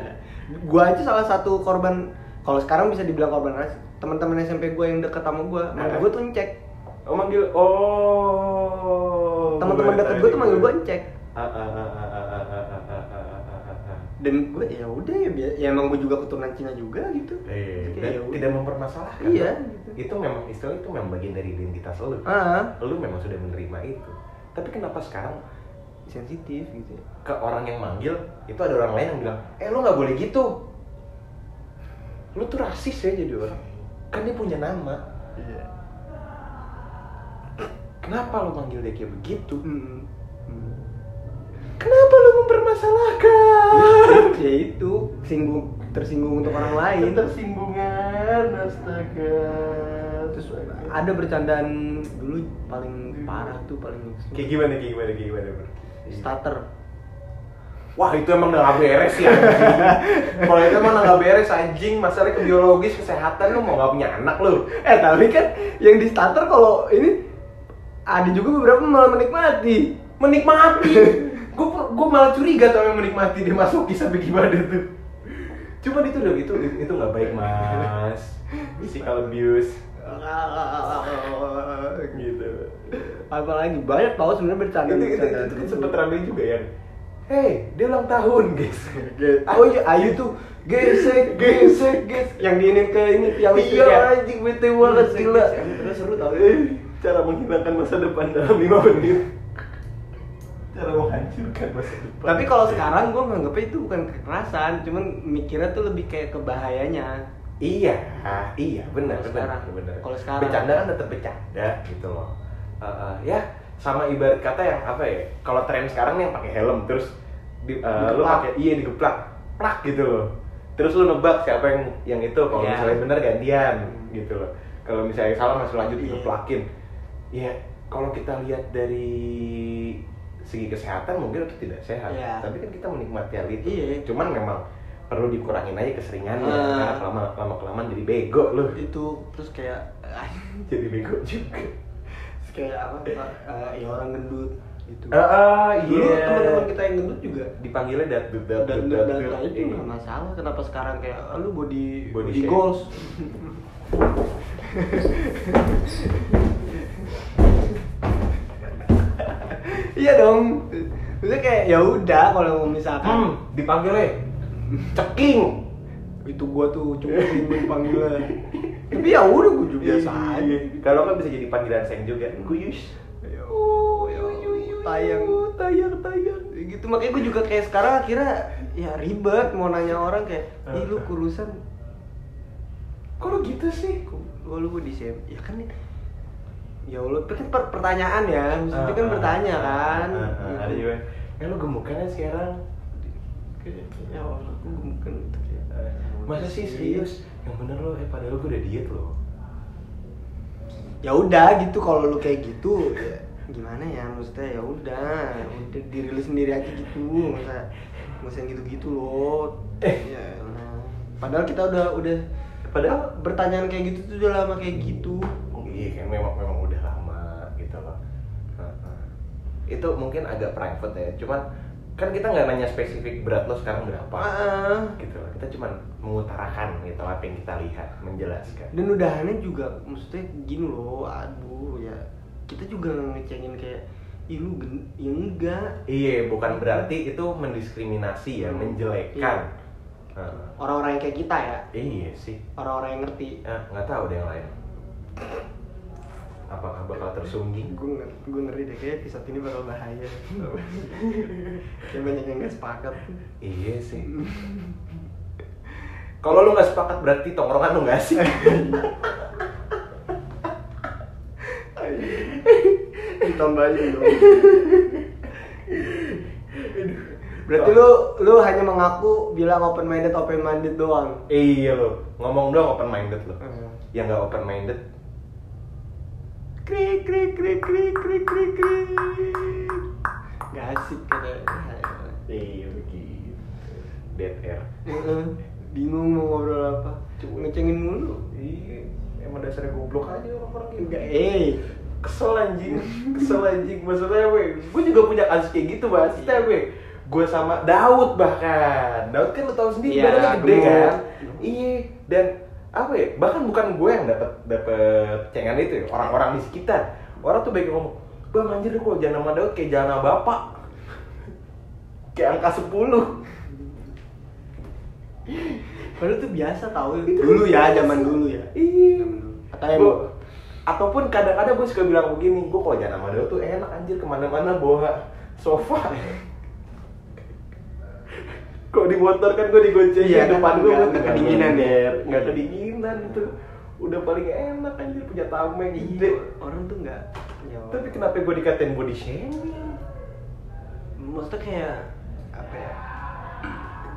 Speaker 1: gua aja salah satu korban kalau sekarang bisa dibilang korban rasis teman-teman SMP gua yang deket sama gua manggil
Speaker 2: Ah.
Speaker 1: gua tuh encek
Speaker 2: Oh manggil, oh.
Speaker 1: teman-teman deket gua tuh manggil gua encek
Speaker 2: Ah, ah, ah, ah, ah, ah, ah, ah, ah, ah, ah, ah, ah.
Speaker 1: dan gua ya udah ya, bi- ya emang gua juga keturunan Cina juga gitu
Speaker 2: Eh, dan
Speaker 1: Kayak ya udah.
Speaker 2: tidak mempermasalahkan.
Speaker 1: Iya,
Speaker 2: Itu memang istilah itu memang bagian dari identitas lo.
Speaker 1: ah
Speaker 2: Lo memang sudah menerima itu. Tapi kenapa sekarang
Speaker 1: sensitif gitu ya.
Speaker 2: ke orang yang manggil itu ada orang lain yang bilang, eh lo nggak boleh gitu. Lo tuh rasis ya jadi orang. Kan dia punya nama. Kenapa lo manggil dia kayak begitu?
Speaker 1: Mm-mm. Mm.
Speaker 2: Kenapa lo mempermasalahkan?
Speaker 1: ya itu singgung tersinggung untuk orang lain
Speaker 2: Tersinggungan, astaga.
Speaker 1: terus eh, ada bercandaan dulu paling parah tuh paling ekstrim.
Speaker 2: kayak gimana, kayak gimana, kayak gimana, bro?
Speaker 1: starter
Speaker 2: Wah itu emang udah nggak beres ya anjing. Kalau itu emang udah nggak beres anjing Masalahnya ke biologis, kesehatan lu mau nggak punya anak lu
Speaker 1: Eh tapi kan yang di starter kalau ini ada juga beberapa malah menikmati.
Speaker 2: Menikmati Gue gue malah curiga tau yang menikmati dia masuki sampai gimana tuh Cuman itu udah itu itu nggak baik mas Physical abuse gitu
Speaker 1: Apalagi banyak tau sebenarnya bercanda.
Speaker 2: itu itu itu, kan sempet rame juga ya Hey, dia ulang tahun, guys.
Speaker 1: Oh iya, Ayu tuh gesek, gesek, gesek. Yang diinin ke ini tiang listrik ya?
Speaker 2: Iya, anjing bete banget
Speaker 1: Gesek,
Speaker 2: gila.
Speaker 1: gesek. Terus seru tau.
Speaker 2: Eh, Cara menghilangkan masa depan dalam 5 menit. Cara menghancurkan masa depan.
Speaker 1: Tapi kalau sekarang gue nganggepnya itu bukan kekerasan, cuman mikirnya tuh lebih kayak kebahayanya.
Speaker 2: iya, ah, iya, benar,
Speaker 1: Kalau
Speaker 2: benar,
Speaker 1: sekarang.
Speaker 2: benar.
Speaker 1: Kalau sekarang.
Speaker 2: bercanda kan tetap bercanda gitu loh. Eh, eh, ya, sama ibarat kata yang apa ya? Kalau tren sekarang yang pakai helm terus di, eh, lu
Speaker 1: Digeplak.
Speaker 2: pakai iya digeplak, plak gitu loh. Terus lu nebak siapa yang yang itu kalau
Speaker 1: Iya.
Speaker 2: misalnya benar gantian gitu loh. Kalau misalnya salah masih lanjut
Speaker 1: Iya.
Speaker 2: digeplakin. Ya, kalau kita lihat dari segi kesehatan mungkin itu tidak sehat.
Speaker 1: Iya.
Speaker 2: Tapi kan kita menikmati hal itu.
Speaker 1: Iya.
Speaker 2: Cuman memang perlu dikurangin aja keseringannya karena
Speaker 1: Ah.
Speaker 2: lama lama kelamaan jadi bego lu
Speaker 1: Itu terus kayak
Speaker 2: jadi bego juga
Speaker 1: terus kayak apa? eh, ya orang gendut gitu.
Speaker 2: ah ah,
Speaker 1: Dulu
Speaker 2: iya
Speaker 1: teman-teman kita yang gendut juga
Speaker 2: dipanggilnya dat dut dat
Speaker 1: dan
Speaker 2: dut,
Speaker 1: dan
Speaker 2: dat,
Speaker 1: dan
Speaker 2: dut.
Speaker 1: itu
Speaker 2: Iya.
Speaker 1: nggak masalah kenapa sekarang kayak "Ah, lu
Speaker 2: Body
Speaker 1: body body,
Speaker 2: shape.
Speaker 1: goals iya dong maksudnya kayak ya udah kalau
Speaker 2: hmm
Speaker 1: misalkan
Speaker 2: dipanggilnya ceking
Speaker 1: itu gua tuh cuma ribet panggilan tapi ya udah gua juga biasa aja gitu.
Speaker 2: Iya. kalau nggak bisa jadi panggilan seng juga kuyus
Speaker 1: Ya, ya, tayang tayang tayang gitu makanya gue juga kayak sekarang akhirnya ya ribet mau nanya orang kayak ih lu kurusan
Speaker 2: kok lu gitu sih
Speaker 1: Wah, lu gue di shape ya kan ya Allah itu kan per- pertanyaan ya maksudnya kan
Speaker 2: Ah, ah,
Speaker 1: bertanya
Speaker 2: ah,
Speaker 1: kan
Speaker 2: ah, ah, ada
Speaker 1: Gitu.
Speaker 2: juga ya lu gemukannya sekarang
Speaker 1: ya Allah gue gemukan gitu kayak
Speaker 2: Eh, masa sih serius yang bener lo eh padahal gue udah diet loh
Speaker 1: ya udah gitu kalau lu kayak gitu ya gimana ya maksudnya ya udah udah diri lu sendiri aja gitu masa masa gitu gitu loh ya, elah. padahal kita udah udah
Speaker 2: Padahal-
Speaker 1: ah, bertanyaan kayak gitu tuh udah lama kayak gitu
Speaker 2: Iya kan memang memang udah lama gitu loh. Heeh. Itu mungkin agak private ya, cuman kan kita nggak nanya spesifik berat lo sekarang berapa
Speaker 1: Ah.
Speaker 2: gitu loh. Kita cuman mengutarakan gitu apa yang kita lihat, menjelaskan.
Speaker 1: dan udahannya juga maksudnya gini loh aduh ya kita juga nggak ngecengin kayak ih lu gen- ya enggak
Speaker 2: Iya, bukan berarti itu mendiskriminasi ya,
Speaker 1: Hmm.
Speaker 2: menjelekkan. Heeh.
Speaker 1: orang-orang yang kayak kita ya
Speaker 2: Iya sih.
Speaker 1: orang-orang yang ngerti
Speaker 2: Ah, nggak tahu deh yang lain. Apakah bakal tersungging?
Speaker 1: gue gue ngeri deh kayak episode ini bakal bahaya kayak banyak yang nggak sepakat
Speaker 2: Iya sih. Kalau lu nggak sepakat berarti tongkrongan lu nggak sih.
Speaker 1: ditambahin dong berarti lu lu hanya mengaku bilang open minded open minded doang
Speaker 2: Iya lo, ngomong doang open minded lo.
Speaker 1: Hmm.
Speaker 2: Yang nggak open minded,
Speaker 1: krik krik krik krik krik krik krik nggak asik kayaknya
Speaker 2: iya begitu. Dead air.
Speaker 1: Heeh, bingung mau ngobrol apa cuma ngecengin mulu
Speaker 2: Iya, emang dasarnya goblok aja orang-orang gitu.
Speaker 1: enggak eh
Speaker 2: Kesel anjing, kesel anjing. Maksudnya gue, gue juga punya kasus kayak gitu
Speaker 1: Iya.
Speaker 2: mas. Maksudnya gue, gue sama Daud bahkan. Daud kan lo tau sendiri,
Speaker 1: Iya,
Speaker 2: badannya gede
Speaker 1: gemuk.
Speaker 2: kan. Iya, dan apa ya? Bahkan bukan gue yang dapat dapat cengan itu, ya, orang-orang di sekitar. Orang tuh baik ngomong, bang anjir lu kalau jalan sama Daud kayak jalan sama bapak. Kayak angka 10
Speaker 1: padahal tuh biasa tahu dulu ya zaman dulu ya
Speaker 2: Iya.
Speaker 1: Atau yang-
Speaker 2: Gua- ataupun kadang-kadang gue suka bilang begini, gue kalau jalan sama dia tuh enak anjir kemana-mana bawa sofa. Kok di motor kan gue digocengin
Speaker 1: Iya,
Speaker 2: depan gue
Speaker 1: nggak-
Speaker 2: nggak
Speaker 1: nggak kedinginan ya.
Speaker 2: nggak kedinginan Iya. itu udah paling enak anjir punya tameng gede.
Speaker 1: orang tuh nggak Iya. ya,
Speaker 2: Tapi kenapa gue dikatain body shaming?
Speaker 1: maksudnya kayak apa ya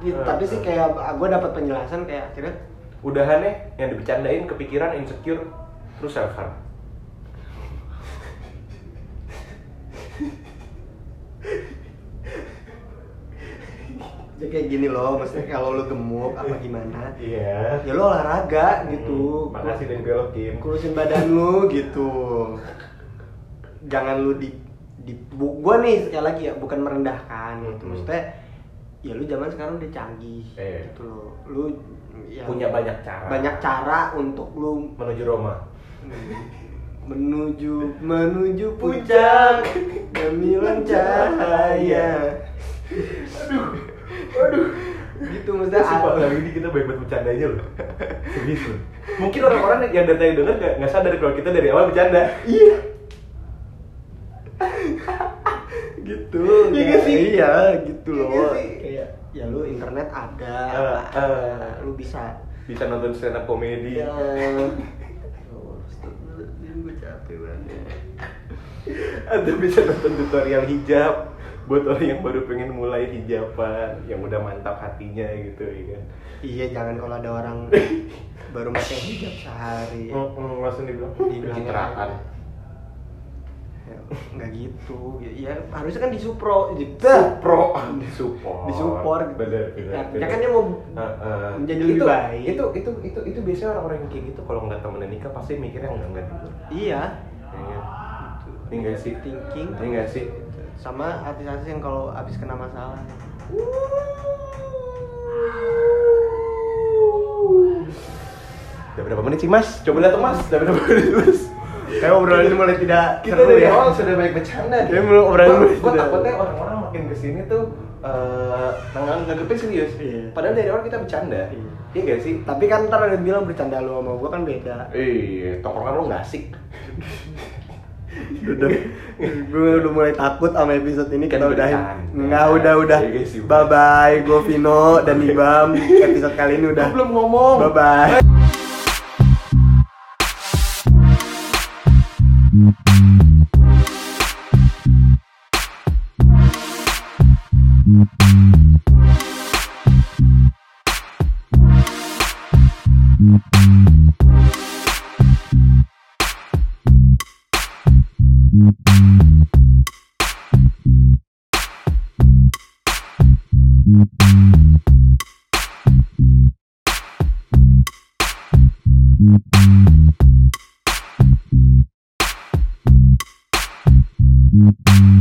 Speaker 1: Di-
Speaker 2: Eh,
Speaker 1: Iya, tapi sih
Speaker 2: eh.
Speaker 1: kayak gue dapat penjelasan kayak akhirnya
Speaker 2: Udahannya ya, yang dibicarain kepikiran insecure terus self harm.
Speaker 1: ya kayak gini loh maksudnya kalau lu gemuk apa gimana
Speaker 2: Iya.
Speaker 1: ya lu olahraga
Speaker 2: Hmm,
Speaker 1: gitu
Speaker 2: makasih dan belokin.
Speaker 1: kurusin badan lu gitu jangan lu di di bu- gua nih sekali lagi ya bukan merendahkan gitu
Speaker 2: Mhm.
Speaker 1: maksudnya ya lu zaman sekarang udah canggih
Speaker 2: Iya.
Speaker 1: gitu loh lu ya,
Speaker 2: Punya banyak cara.
Speaker 1: banyak cara untuk lu
Speaker 2: menuju Roma.
Speaker 1: menuju menuju puncak ya. gemilang cahaya
Speaker 2: Waduh.
Speaker 1: gitu
Speaker 2: Kita
Speaker 1: maksudnya
Speaker 2: sumpah
Speaker 1: ada-
Speaker 2: kali ini kita baik banget bercanda aja loh. Serius loh. Mungkin orang-orang yang dari tadi denger gak, nggak sadar kalau kita dari awal bercanda. Iya.
Speaker 1: gitu
Speaker 2: Iya
Speaker 1: ya,
Speaker 2: gak sih?
Speaker 1: iya gitu
Speaker 2: Iya
Speaker 1: loh
Speaker 2: gak sih?
Speaker 1: kayak ya lu internet ada
Speaker 2: Eh,
Speaker 1: ada,
Speaker 2: eh.
Speaker 1: lu bisa
Speaker 2: Bisa nonton stand up comedy.
Speaker 1: Ya. gue capek banget
Speaker 2: Atau bisa nonton tutorial hijab buat orang yang baru pengen mulai hijaban, yang udah mantap hatinya gitu ya kan.
Speaker 1: iya jangan kalau ada orang baru pakai hijab sehari
Speaker 2: Mm, mm, langsung dibilang
Speaker 1: Dibilang
Speaker 2: pencitraan.
Speaker 1: Ya, nggak gitu ya harusnya kan disupro gitu
Speaker 2: Supro, disupport.
Speaker 1: Disupport.
Speaker 2: Bener, bener.
Speaker 1: Ya,
Speaker 2: bener.
Speaker 1: ya kan dia mau
Speaker 2: Heeh.
Speaker 1: menjadi lebih
Speaker 2: itu,
Speaker 1: baik.
Speaker 2: Itu itu itu itu biasanya orang-orang yang kayak gitu kalau nggak temenan nikah pasti mikirnya nggak nggak dulu.
Speaker 1: iya
Speaker 2: Iya.
Speaker 1: Gitu.
Speaker 2: Ini nggak sih?
Speaker 1: thinking
Speaker 2: Ini nggak sih?
Speaker 1: sama artis-artis yang kalau habis kena masalah
Speaker 2: Udah berapa menit sih mas? Coba datang mas. Udah berapa menit mas?
Speaker 1: kayak obrolan ini mulai tidak ya.
Speaker 2: Kita dari awal sudah banyak bercanda. nih.
Speaker 1: Kayaknya belum obrolan
Speaker 2: Gua-
Speaker 1: dulu
Speaker 2: Gua
Speaker 1: sudah.
Speaker 2: takutnya orang-orang makin kesini tuh eh nggak nganggepnya serius.
Speaker 1: Iya.
Speaker 2: Padahal dari awal kita bercanda.
Speaker 1: Iya.
Speaker 2: Iya nggak sih?
Speaker 1: tapi kan ntar ada yang bilang bercanda lu sama gua kan beda
Speaker 2: Iya, tongkrongan lo nggak asik.
Speaker 1: udah gue udah mulai takut sama episode ini
Speaker 2: Kan
Speaker 1: kita udahin
Speaker 2: bercanda.
Speaker 1: nggak udah udah
Speaker 2: Iya, guys, yuk.
Speaker 1: bye bye gue Vino dan Ibam episode kali ini udah
Speaker 2: Gua belum ngomong.
Speaker 1: bye bye
Speaker 4: Thank you.